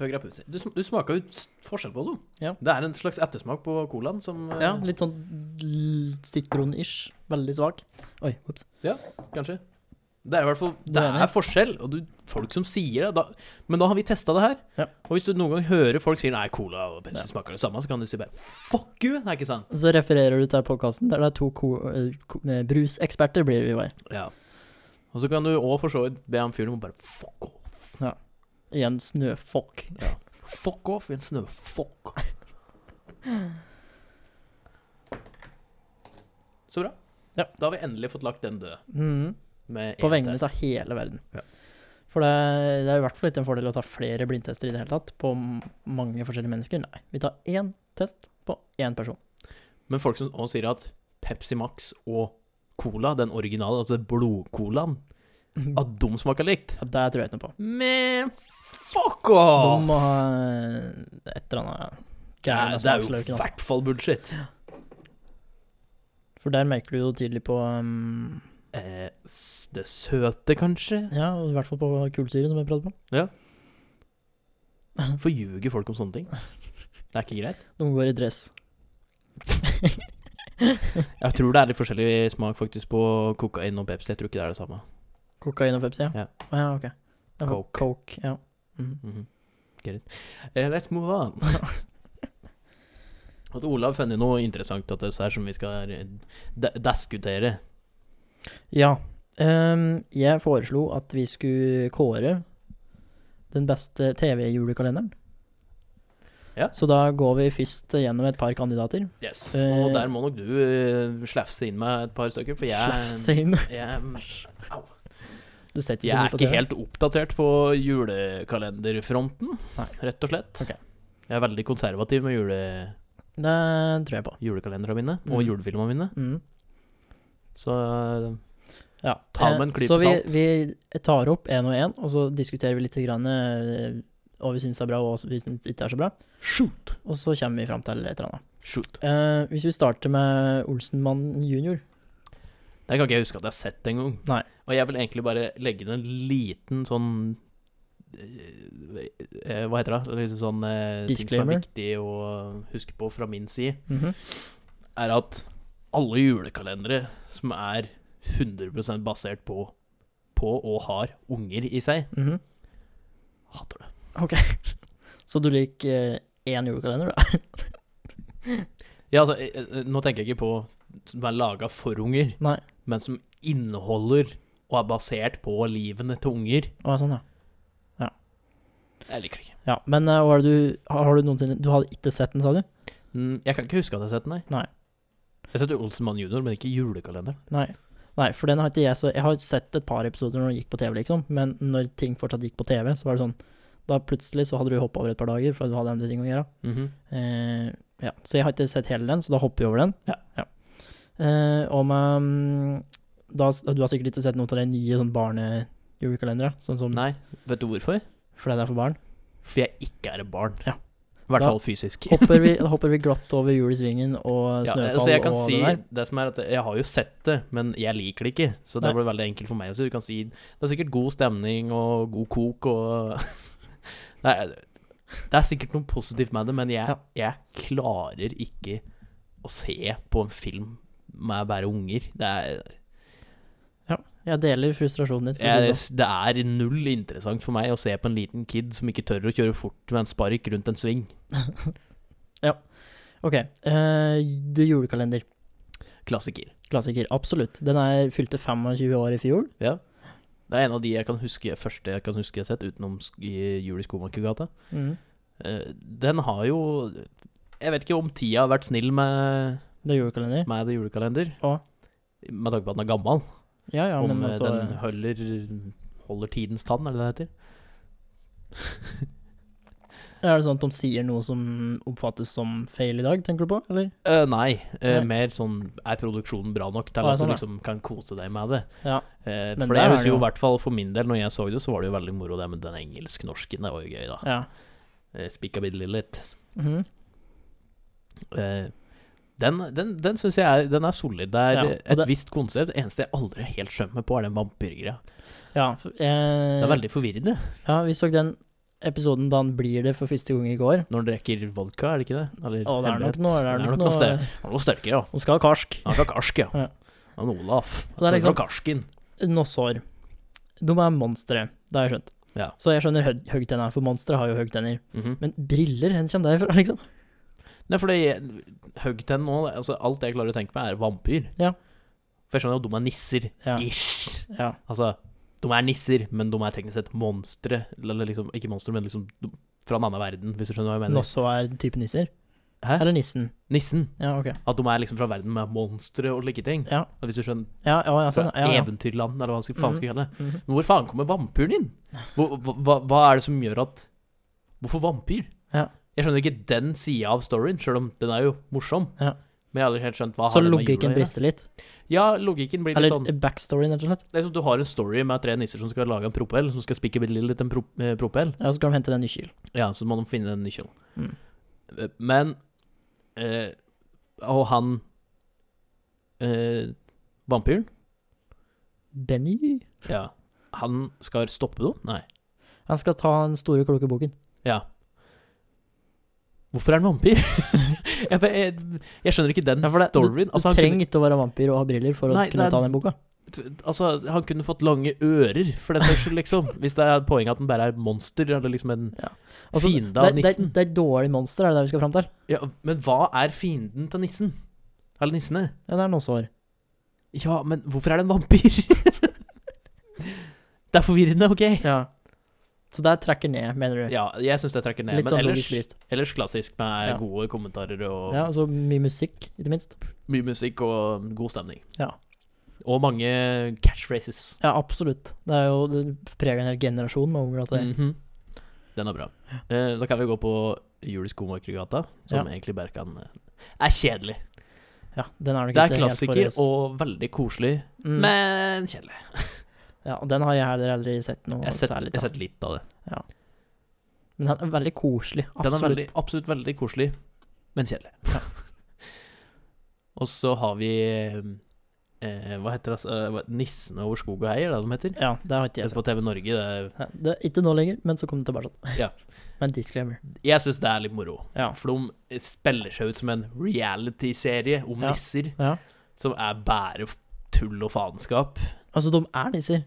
Høyre er Pepsi. Du, sm- du smaker jo s- forskjell på dem.
Ja.
Det er en slags ettersmak på colaen som eh,
Ja, litt sånn l- sitron-ish. Veldig svak. Oi, whoops.
Kanskje. Det er i hvert fall
Du
Det
er
er
enig?
forskjell, og du, folk som sier det da, Men da har vi testa det her.
Ja.
Og hvis du noen gang hører folk sier Nei, cola og Pepsi
Ja.
smaker det samme, så kan du si bare Fuck you! Det er ikke sant.
Så refererer du til podkasten der det er to ko eh, ko eh, bruseksperter, blir vi var.
Ja. Og så kan du òg for så vidt be han fyren om å bare fuck off.
Igjen snøfokk.
Ja. Fuck off i en snøfuck. Så bra.
Ja.
Da har vi endelig fått lagt den død.
Mhm.
Med
På
en
vegne
test.
av hele verden.
Ja.
For det, det er i hvert fall ikke en fordel å ta flere blindtester i det hele tatt, på m- mange forskjellige mennesker. Nei, vi tar én test på én person.
Men folk som også sier at Pepsi Max og Cola, den originale, altså blodcolaen,
Ja,
at de smaker likt.
det tror jeg ikke noe på.
Men fuck
De
off!
må ha eh, et eller annet gæren
Nei,
av
det er jo i
smaksløken. Altså.
hvert fall bullshit.
For der merker du jo tydelig på um,
Eh, s- det søte, kanskje?
Ja, og i hvert fall på kullsyre, som jeg pratet om.
Hvorfor ljuger folk om sånne ting? Det er ikke greit.
De går i dress.
Jeg tror det er litt forskjellig smak faktisk på kokain og Pepsi. Jeg tror ikke det er det samme.
Kokain og Pepsi, ja?
Ja.
Å ja, ok. Ja, for
Coke.
Coke, ja. Mhm.
Mhm. Get it. Eh, let's move on. At Olav har funnet noe interessant av dette her som vi skal eh, de- diskutere.
Ja. ehm, jeg foreslo at vi skulle kåre den beste TV-julekalenderen.
Ja.
Så da går vi først gjennom et par kandidater.
Yes.
Eh,
Og der må nok du eh, slafse inn med et par stykker, for jeg
Slafse inn.
Jeg,
Du setter
jeg
så mye
er
på
ikke
TV.
helt oppdatert på julekalenderfronten,
Nei.
rett og slett.
Ok.
Jeg er veldig konservativ med jule,
Det tror jeg på.
julekalenderne mine og
Mhm.
julefilmene mine,
Mm.
så eh,
Ja.
Ta med
eh,
en klype
så vi,
salt.
vi tar opp én og én, og så diskuterer vi litt grann, eh, hva vi syns er bra, og hva vi syns ikke er så bra.
Shoot!
Og så kommer vi fram til et eller annet.
Shoot.
Eh, hvis vi starter med Olsenmann junior
Det kan ikke jeg huske at jeg har sett engang.
Nei.
Og jeg vil egentlig bare legge inn en liten sånn eh, eh, Hva heter det? Liksom sånn eh, ting som
Disclaimer.
er viktig å huske på fra min side, er at alle julekalendere som er 100 basert på, på og har unger i seg,
Mhm.
hater det.
Så du liker eh, én julekalender, da?
Ja, altså, eh, eh, nå tenker jeg ikke på som er laga for unger,
Nei.
men som inneholder og er basert på livene til unger.
Å, sånn, ja.
Jeg liker det ikke.
ja men eh, hva er det du, har, har du noensinne Du hadde ikke sett den, sa du?
Mm, Jeg kan ikke huske at jeg har sett den, nei.
Nei.
Jeg har sett Olsenmann junior, men ikke julekalenderen.
Nei. Nei, for den har ikke jeg så Jeg har sett et par episoder når den gikk på TV, liksom, men når ting fortsatt gikk på TV, så var det sånn Da plutselig så hadde du hoppa over et par dager, for du hadde andre ting å gjøre. Eh, ja. Så jeg har ikke sett hele den, så da hopper vi over den.
Ja.
Eh, og med mm, da, s- Du har sikkert ikke sett noen av de nye sånn barnejulekalendere? Sånn som
Nei, vet du hvorfor?
Fordi det er for barn?
For jeg ikke er et barn.
Ja.
I hvert
Da-
fall fysisk.
Hopper vi, da hopper vi glatt over jul i svingen og
Ja,
snøfall
så jeg kan
og
si
det der?
det som er at Jeg har jo sett det, men jeg liker det ikke. Så det
Nei.
ble veldig enkelt for meg også. Du kan si det er sikkert god stemning og god kok og <laughs> Nei, det er sikkert noe positivt med det, men jeg,
Ja.
jeg klarer ikke å se på en film med bare unger. Det er,
Jeg deler frustrasjonen din. For å si
jeg,
det sånn.
det er null interessant for meg å se på en liten kid som ikke tør å kjøre fort med en spark rundt en sving.
sånn. Ok. eh, The Julekalender.
Klassiker.
Klassiker. Absolutt. Den er fylte 25 år i fjor.
Ja. Det er en av de jeg kan huske første jeg kan huske jeg har sett utenom sk- i Jul i Skomakergata.
Mm.
Eh, Den har jo Jeg vet ikke om tida har vært snill med,
The Julekalender.
med det julekalender.
Ja.
Med tanke på at den er gammel.
Ja, ja,
om
men
eh,
altså
den holder, holder tidens tann, er det det heter?
Er det sånn at de sier noe som oppfattes som feil i dag, tenker du på? Eller?
Eh, nei, eh,
Nei.
mer sånn Er produksjonen bra nok til
Ah,
at
sånn,
du
ja.
liksom kan kose deg med det?
Ja.
Eh,
Men
for
der
det
er
husker
det
jo
jo-
i hvert fall for min del, når jeg så det, så var det jo veldig moro det med den engelsk-norsken. Det var jo gøy, da.
Ja.
Eh, Spikkabilly litt.
Mhm.
Eh, den den, den syns jeg er, den er solid. Det er
Ja,
eh,
og
et
det-
visst konsept. Det eneste jeg aldri helt skjønner meg på, er den vampyrgreia.
ja for, eh,
Det er veldig forvirrende
ja, vi så den episoden da han blir det for første gang i går.
når han drikker vodka, er det ikke det? Eller
Å, det er nok
hemmelighet.
noe. Det er nok noe.
ster- det er noe sterkere, ja.
Hun skal ha karsk.
Han er ikke karsk, ja.
Ja.
Han er Olaf.
det er
Han er
liksom-
fra karsken.
Nossår. De er monstre, det har jeg skjønt.
Ja.
Så jeg skjønner høg- høgtenna, for monstre har jo høgtenner.
Mhm.
Men briller, hvor kommer det fra, <laughs> liksom?
Nei, for Høgtenn nå altså, Alt jeg klarer å tenke meg, er vampyr.
Ja.
For jeg skjønner jo, de er nisser.
Ja.
Ish.
ja.
Altså, de er nisser, men de er teknisk sett monstre. Eller liksom, ikke monstre, men liksom de- fra en annen verden, hvis du skjønner hva jeg mener.
Nosso er type nisser?
Hæ?
Eller nissen?
Nissen.
Ja, ok.
At de er liksom fra verden med monstre og like ting.
Ja,
Og Hvis du skjønner
ja, ja, ja sånn.
fra
Ja, ja.
Eventyrland, eller hva skal- faen skal vi kalle det.
Mhm.
Men hvor faen kommer vampyren inn? Hva, hva, hva er det som gjør at Hvorfor vampyr?
Ja.
Jeg skjønner ikke den sida av storyen, sjøl om den er jo morsom.
Ja.
Men jeg har aldri helt skjønt hva
Så
har det med
logikken
jula å gjøre?
brister litt.
Ja, logikken blir litt
Eller
sånn
backstoryen, rett og slett.
det er som Du har en story med tre nisser som skal lage en propell, som skal spikke bitte litt en pro eh, propell.
Ja, så skal de hente den i kyl.
Ja, så må de finne en nøkkel.
Mm.
Men eh, Og han eh, vampyren,
Benny
ja. han skal stoppe noen? Nei.
Han skal ta den store, kloke boken.
Ja. Hvorfor er han vampyr? <laughs> jeg, bare- jeg, jeg skjønner ikke den
Ja, for det-
storyen.
Du
Altså, han,
trenger ikke å være vampyr og ha briller for å
Nei,
kunne
det er-
ta den boka.
kunne, altså, han kunne fått lange ører, for den saks skyld, <laughs> liksom. Hvis det er poenget at han bare er et monster, eller liksom en
Ja. Altså,
fiende
Det,
av
er- det, er-
nissen.
det er et dårlig monster, er det det vi skal fram til?
Ja, men hva er fienden til nissen? Eller nissene?
Ja, det er noen sår.
Ja, men hvorfor er det en vampyr? <laughs> det er forvirrende, OK?
Ja. Så det trekker ned, mener du?
Ja, jeg syns det trekker ned.
Litt
men
sånn
ellers,
logisk brist.
ellers klassisk med
Ja.
gode kommentarer og
Ja, og så mye musikk, ikke minst.
mye musikk og god stemning.
Ja.
Og mange catchphrases.
Ja, absolutt. Det er jo det preger en hel generasjon med unger at det
Mhm. Den er bra. Eh, da kan vi gå på Julis Komakergata, som
Ja.
egentlig bare kan eh, er kjedelig.
Ja, den er nok
Det er
ikke helt for
klassiker
oss.
og veldig koselig,
Mm.
men kjedelig.
Ja, og den har jeg heller aldri sett noe
Jeg har sett,
særlig
jeg har
av.
sett litt av det.
Men den er veldig koselig.
Den er
Absolutt.
veldig, absolutt veldig koselig, men kjedelig. <laughs> og så har vi eh, Hva heter det? altså, eh, hva- 'Nissene over skog og hei', er det de heter?
Ja, det har ikke
Det
jeg
er
sett.
på TV Norge. Det er,
Ja, Det, ikke nå lenger, men så kom det tilbake. sånn.
Ja.
<laughs> Men disclaimer.
jeg syns det er litt moro.
Ja.
For de spiller seg ut som en reality-serie om
Ja.
nisser
ja.
som er bare f- tull og faenskap.
Altså, de er nisser.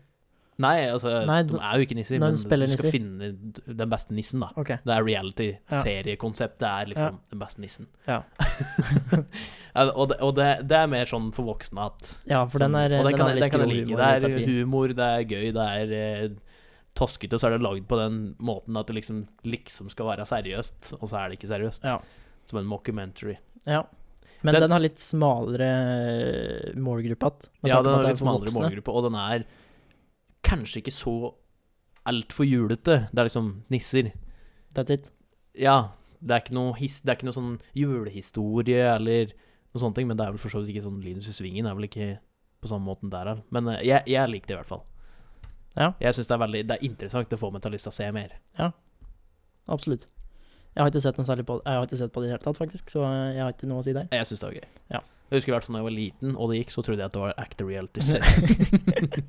Nei, altså,
Nei,
de
du-
er jo ikke nisser,
nei,
men
de spiller
du skal
nisser.
finne d- den beste nissen, da.
Ok.
Det er reality-seriekonseptet er liksom den beste nissen.
Ja.
<laughs> Ja, og det, og det, det er mer sånn for voksne at
Ja, for den er
sånn, Og den, kan,
er
jeg- den
litt
kan jeg
grov
like.
humor,
Det
litt
er
av tid.
humor, det er gøy, det er eh, toskete, og så er det lagd på den måten at det liksom, liksom skal være seriøst, og så er det ikke seriøst.
Ja.
Som en mockumentary.
Ja. Men
Den-
den, har litt smalere eh, målgruppe att. med
Ja,
tanke på
den
at
har
det er
litt
for
smalere
voksne.
målgruppe, og den er kanskje ikke så altfor julete. Det er liksom nisser.
That's it.
Ja, det er ikke noe, his, det er ikke noe sånn julehistorie eller noe sånne ting, men det er vel for så vidt ikke sånn Linus i svingen er vel ikke på samme måten der her. Men eh, jeg, jeg liker det i hvert fall.
Ja.
Jeg syns det er veldig Det er interessant. Det får meg til å lyst til å se mer.
Absolutt. Jeg har ikke sett noe særlig på det Jeg har ikke sett på det i det hele tatt, faktisk, så eh, jeg har ikke noe å si der.
Jeg syns det var gøy.
Ja.
Jeg husker i hvert fall da jeg var liten og det gikk, så trodde jeg at det var actor
<laughs>
reality. set.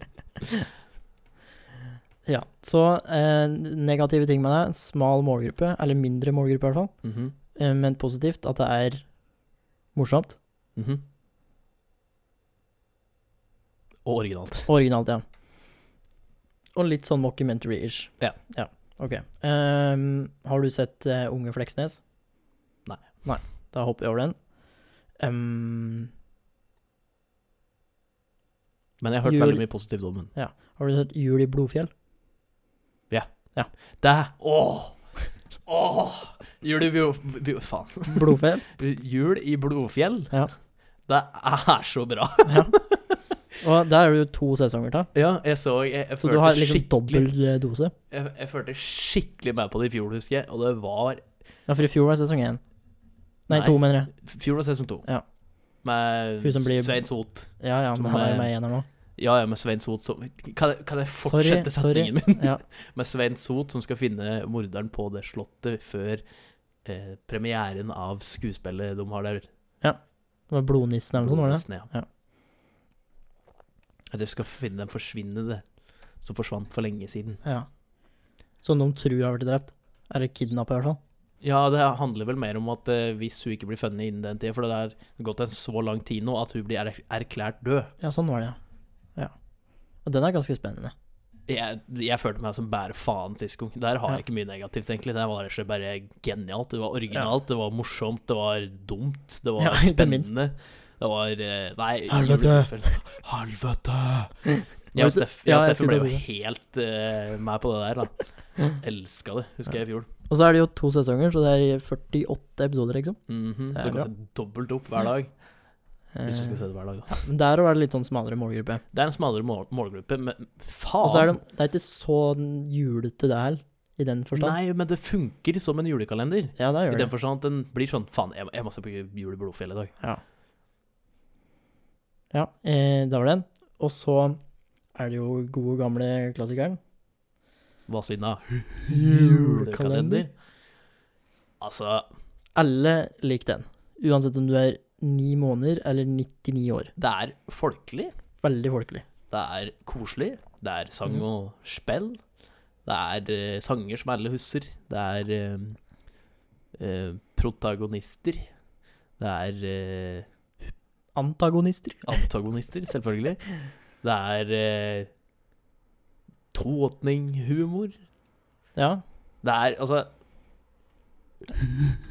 ja, så eh, negative ting med det. Smal målgruppe, eller mindre målgruppe i hvert fall.
Mhm.
Eh, men positivt at det er morsomt.
Mhm. Og originalt.
Originalt, ja. Og litt sånn mockumentary-ish.
Ja.
ja. Ok. Ehm, har du sett eh, Unge Fleksnes?
Nei.
Nei. Da hopper jeg over den. Ehm,
Men jeg har hørt
Jul-
veldig mye positivt om den.
har du sett Jul i Blodfjell?
Det Åh! Åh! Jul i bio... bio faen.
Blodfjell?
Jul i Blodfjell.
Ja.
Det er så bra.
ja. <laughs> Og der er det jo to sesonger til.
<laughs> Ja, jeg så Jeg, jeg,
Så du har
følte,
liksom
skikkelig,
dobbel eh, dose.
jeg, jeg følte skikkelig med på det i fjor, husker jeg. Og det var
Ja, for i fjor var sesong én.
Nei.
Nei, to, mener jeg.
Fjor var sesong to.
Ja.
Med
Hun som blir-
Svein Sot.
Ja, ja,
Som
men han er
er-
jo
<laughs>
med igjen her nå.
Ja, ja, med Svein Sot som Kan, jeg- kan jeg
Sorry,
fortsette
sorry.
setningen min? <laughs>
Ja.
Med Svein Sot som skal finne morderen på det slottet før eh, premieren av skuespillet de har der.
Det var Blodnissen eller noe sånt, var det?
Nissen, Sånn ja.
Ja.
At de skal finne den forsvinnende som forsvant for lenge siden.
Ja. Som de tror har blitt drept. Eller kidnappa, i hvert fall.
Ja, det handler vel mer om at eh, hvis hun ikke blir funnet innen den tida, for det er gått en så lang tid nå at hun blir er erklært død.
Ja, sånn var det, ja. ja. Og den er ganske spennende.
Jeg, jeg følte meg som bare faen sist gang. Der har
Ja.
jeg ikke mye negativt, egentlig. Det var ikke bare genialt. Det var originalt, det var morsomt, det var dumt, det var
Ja, <laughs> ikke minst.
spennende. Det var eh, Nei,
Helvete.
julefilm. Helvete!
<laughs>
Jeg og Steff, jeg
Ja,
og
jeg
Steffen
skulle
ble jo
til å
helt eh, med på det der, da.
<laughs>
Elska det, husker jeg i fjor.
Og så er det jo to sesonger, så det er 48 episoder, liksom.
Mhm,
Det
Så
er
du kan se dobbelt opp hver dag. Hvis du skal se
Eh,
det hver dag, da.
ja, men der òg er det litt sånn smalere målgruppe.
Det er en smalere mål målgruppe, men faen!
Og så er det, det er ikke så julete det her, i den forstand.
Nei, men det funker som en julekalender.
Ja,
I
det gjør
den
det.
forstand at den blir sånn Faen, jeg, jeg må se på Jul i Blodfjell i dag.
Ja. ja eh, da var det den. Og så er det jo gode, gamle klassikeren.
Hva siden av
Julekalender?
Altså
Alle liker den. Uansett om du er ni måneder eller 99 år.
Det er folkelig,
Veldig folkelig.
det er koselig, det er sang
Mhm.
og spill. Det er eh, sanger som alle husker. Det er eh, eh, protagonister. Det er eh,
Antagonister.
antagonister, selvfølgelig. Det er eh, tåtninghumor.
Ja.
Det er altså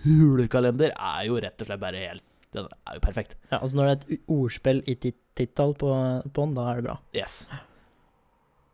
Julekalender er jo rett og slett bare helt Den er jo perfekt.
ja altså når det er et u- ordspill i tit- tittall på, på den, da er det bra.
Yes.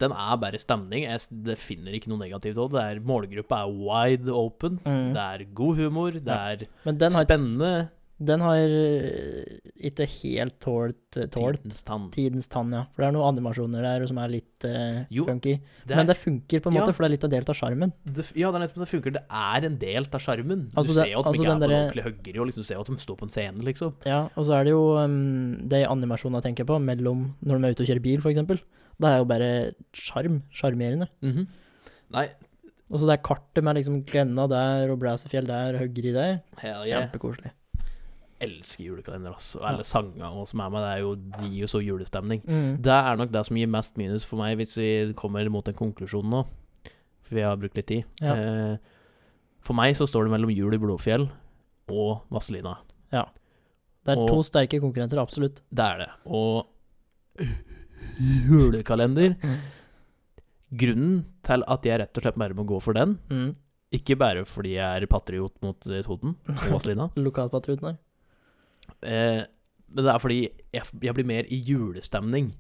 Den er bare stemning. Jeg s- det finner ikke noe negativt òg. Målgruppa er wide open.
Mm.
Det er god humor. Det
Ja.
er
Men den har,
spennende.
den har eh, ikke helt tålt, tålt
Tidens tann.
tidens tann, ja. For det er noen animasjoner der som er litt eh,
Jo,
funky.
Det
Men
er,
det funker på en
Ja.
måte, for det er litt av delt av sjarmen.
det, f- ja, det er nettopp det funker. Det er en del av sjarmen. Du
Altså, det-
ser jo at de
altså,
ikke er på en
den derre-
ordentlig høggeri, og liksom, du ser jo at de står på en scene, liksom.
Ja, og så er det jo um, de animasjonene jeg tenker på, mellom når de er ute og kjører bil, f.eks. Det er jo bare sjarm. Sjarmerende.
Mhm. Nei,
Og så det er kartet med liksom Glenna der og Blæsefjell der og Høgri der.
hell yeah.
Kjempekoselig.
elsker julekalender, ass. Og
Ja.
alle sangene og som er med, det er jo, det gir jo så julestemning.
Mm.
Det er nok det som gir mest minus for meg, hvis vi kommer mot en konklusjon nå. For vi har brukt litt tid.
Ja.
Eh, for meg så står det mellom Jul i Blåfjell og Vazelina.
Det er
og-
to sterke konkurrenter, absolutt.
Det er det. Og julekalender Grunnen til at jeg rett og slett bare må gå for den,
Mm.
ikke bare fordi jeg er patriot mot eh, Toten og
<laughs>
Vazelina,
Lokalpatriotene.
Eh, men det er fordi jeg, jeg blir mer i julestemning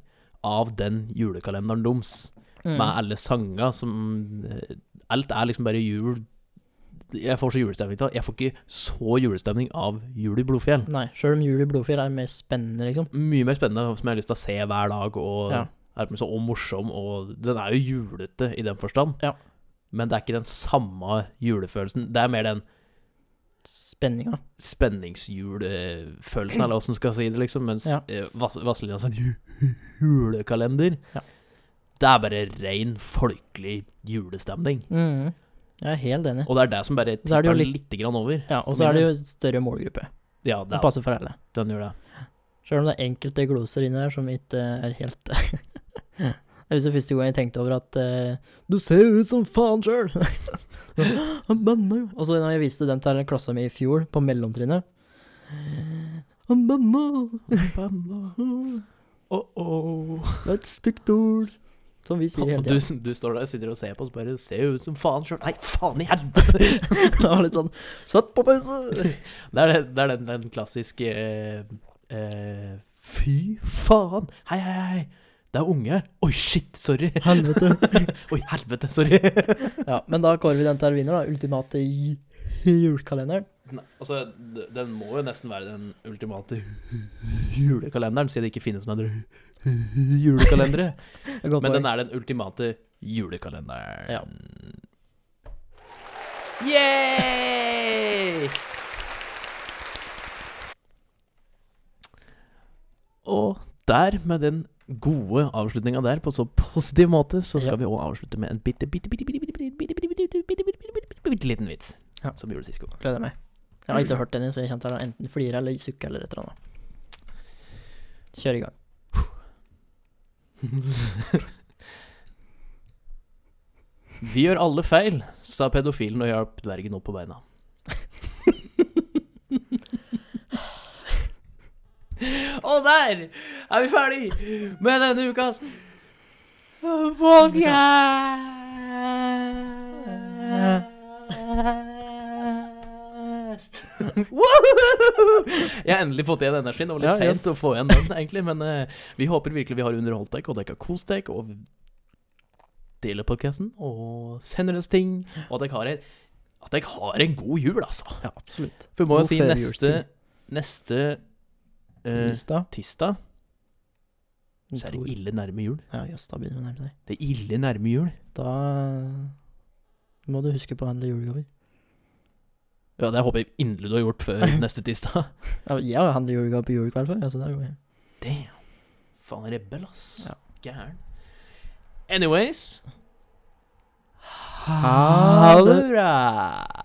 av den julekalenderen deres,
Mm.
med alle sanger som eh, Alt er liksom bare jul. Jeg får så julestemning av Jeg får ikke så julestemning av Jul i Blodfjell.
Nei, sjøl om Jul i Blodfjell er mer spennende, liksom.
Mye mer spennende, som jeg har lyst til å se hver dag, og,
Ja.
er så, og morsom, og Den er jo julete i den forstand,
Ja.
men det er ikke den samme julefølelsen. Det er mer den
Spenninga.
spenningsjulefølelsen, eller åssen skal jeg si det, liksom. Mens
Ja.
eh, Vas Vazelina sin ju- <laughs> julekalender
Ja.
Det er bare ren folkelig julestemning.
Mm. Jeg er helt enig.
Og det er det som bare
Så er det
tipper
jo
litt,
litt-
grann over.
Ja, og så er det jo større målgruppe.
Ja, det
Det
er,
passer for alle.
den gjør det.
Sjøl om det er enkelte gloser inni der som ikke eh, er helt <laughs> Jeg husker første gang jeg tenkte over at eh, Du ser jo ut som faen sjøl! <laughs> Han banna jo. Og så når jeg viste den til klassa mi i fjor, på mellomtrinnet Han banna!
Oh, oh.
Det er et stygt ord. Som vi sier hele
Du,
tida.
du står der og sitter og ser på og så bare ser jo ut som faen sjøl. Nei, faen i helvete!
<laughs> Det var litt sånn Satt på pause!
Det er, det, det er den, den klassiske eh, eh, Fy faen! Hei, hei, hei! Det er unge her. Oi, shit! Sorry.
Helvete.
Oi, helvete! Sorry.
<laughs> Ja, men da kårer vi den til vinner, da. Ultimate i- i julekalenderen.
Nei, altså, d- den må jo nesten være den ultimate julekalenderen, siden det ikke finnes noen andre julekalendere. Men
Godt poeng.
den er den ultimate julekalenderen.
Ja.
Yay! Og der, med den gode avslutninga der, på så positiv måte, så skal
Ja.
vi òg avslutte med en bitte, bitte, bitte, bitte, bitte, bitte, bitte, bitte, bitte, bitte, bitte, bitte, bitte, bitte, bitte liten vits.
Ja.
Som vi gjorde sist gang.
Gleder meg. Jeg har ikke hørt den, så jeg kjente jeg enten flire eller sukke eller et eller annet. Kjør i gang.
Vi gjør alle feil, sa pedofilen og hjalp dvergen opp på beina. og der er vi ferdig med denne ukas podcast. Woohoo! Jeg har endelig fått igjen energien. Det var litt
Ja,
sent
yes.
å få igjen den, egentlig. Men eh, vi håper virkelig vi har underholdt deg, og dere har kost deg, og deler podkasten, og sender oss ting, og at dere har en, at dere har en god jul, altså.
Ja, absolutt.
For vi må
God
jo si neste
førjulstid.
Neste eh,
Tirsdag.
tirsdag så er
Tor-
det ille nærme jul.
Ja, jøss, da begynner vi å nærme deg.
Det er ille nærme jul.
Da må du huske på å handle julegaver.
Ja, det håper jeg inderlig du har gjort før
<laughs>
neste tirsdag.
Ja, jeg har handlet julegaver på julekveld før, altså der går jeg.
Damn. Faen rebell, ass.
Ja.
Gæren. Anyways
Ha det
bra!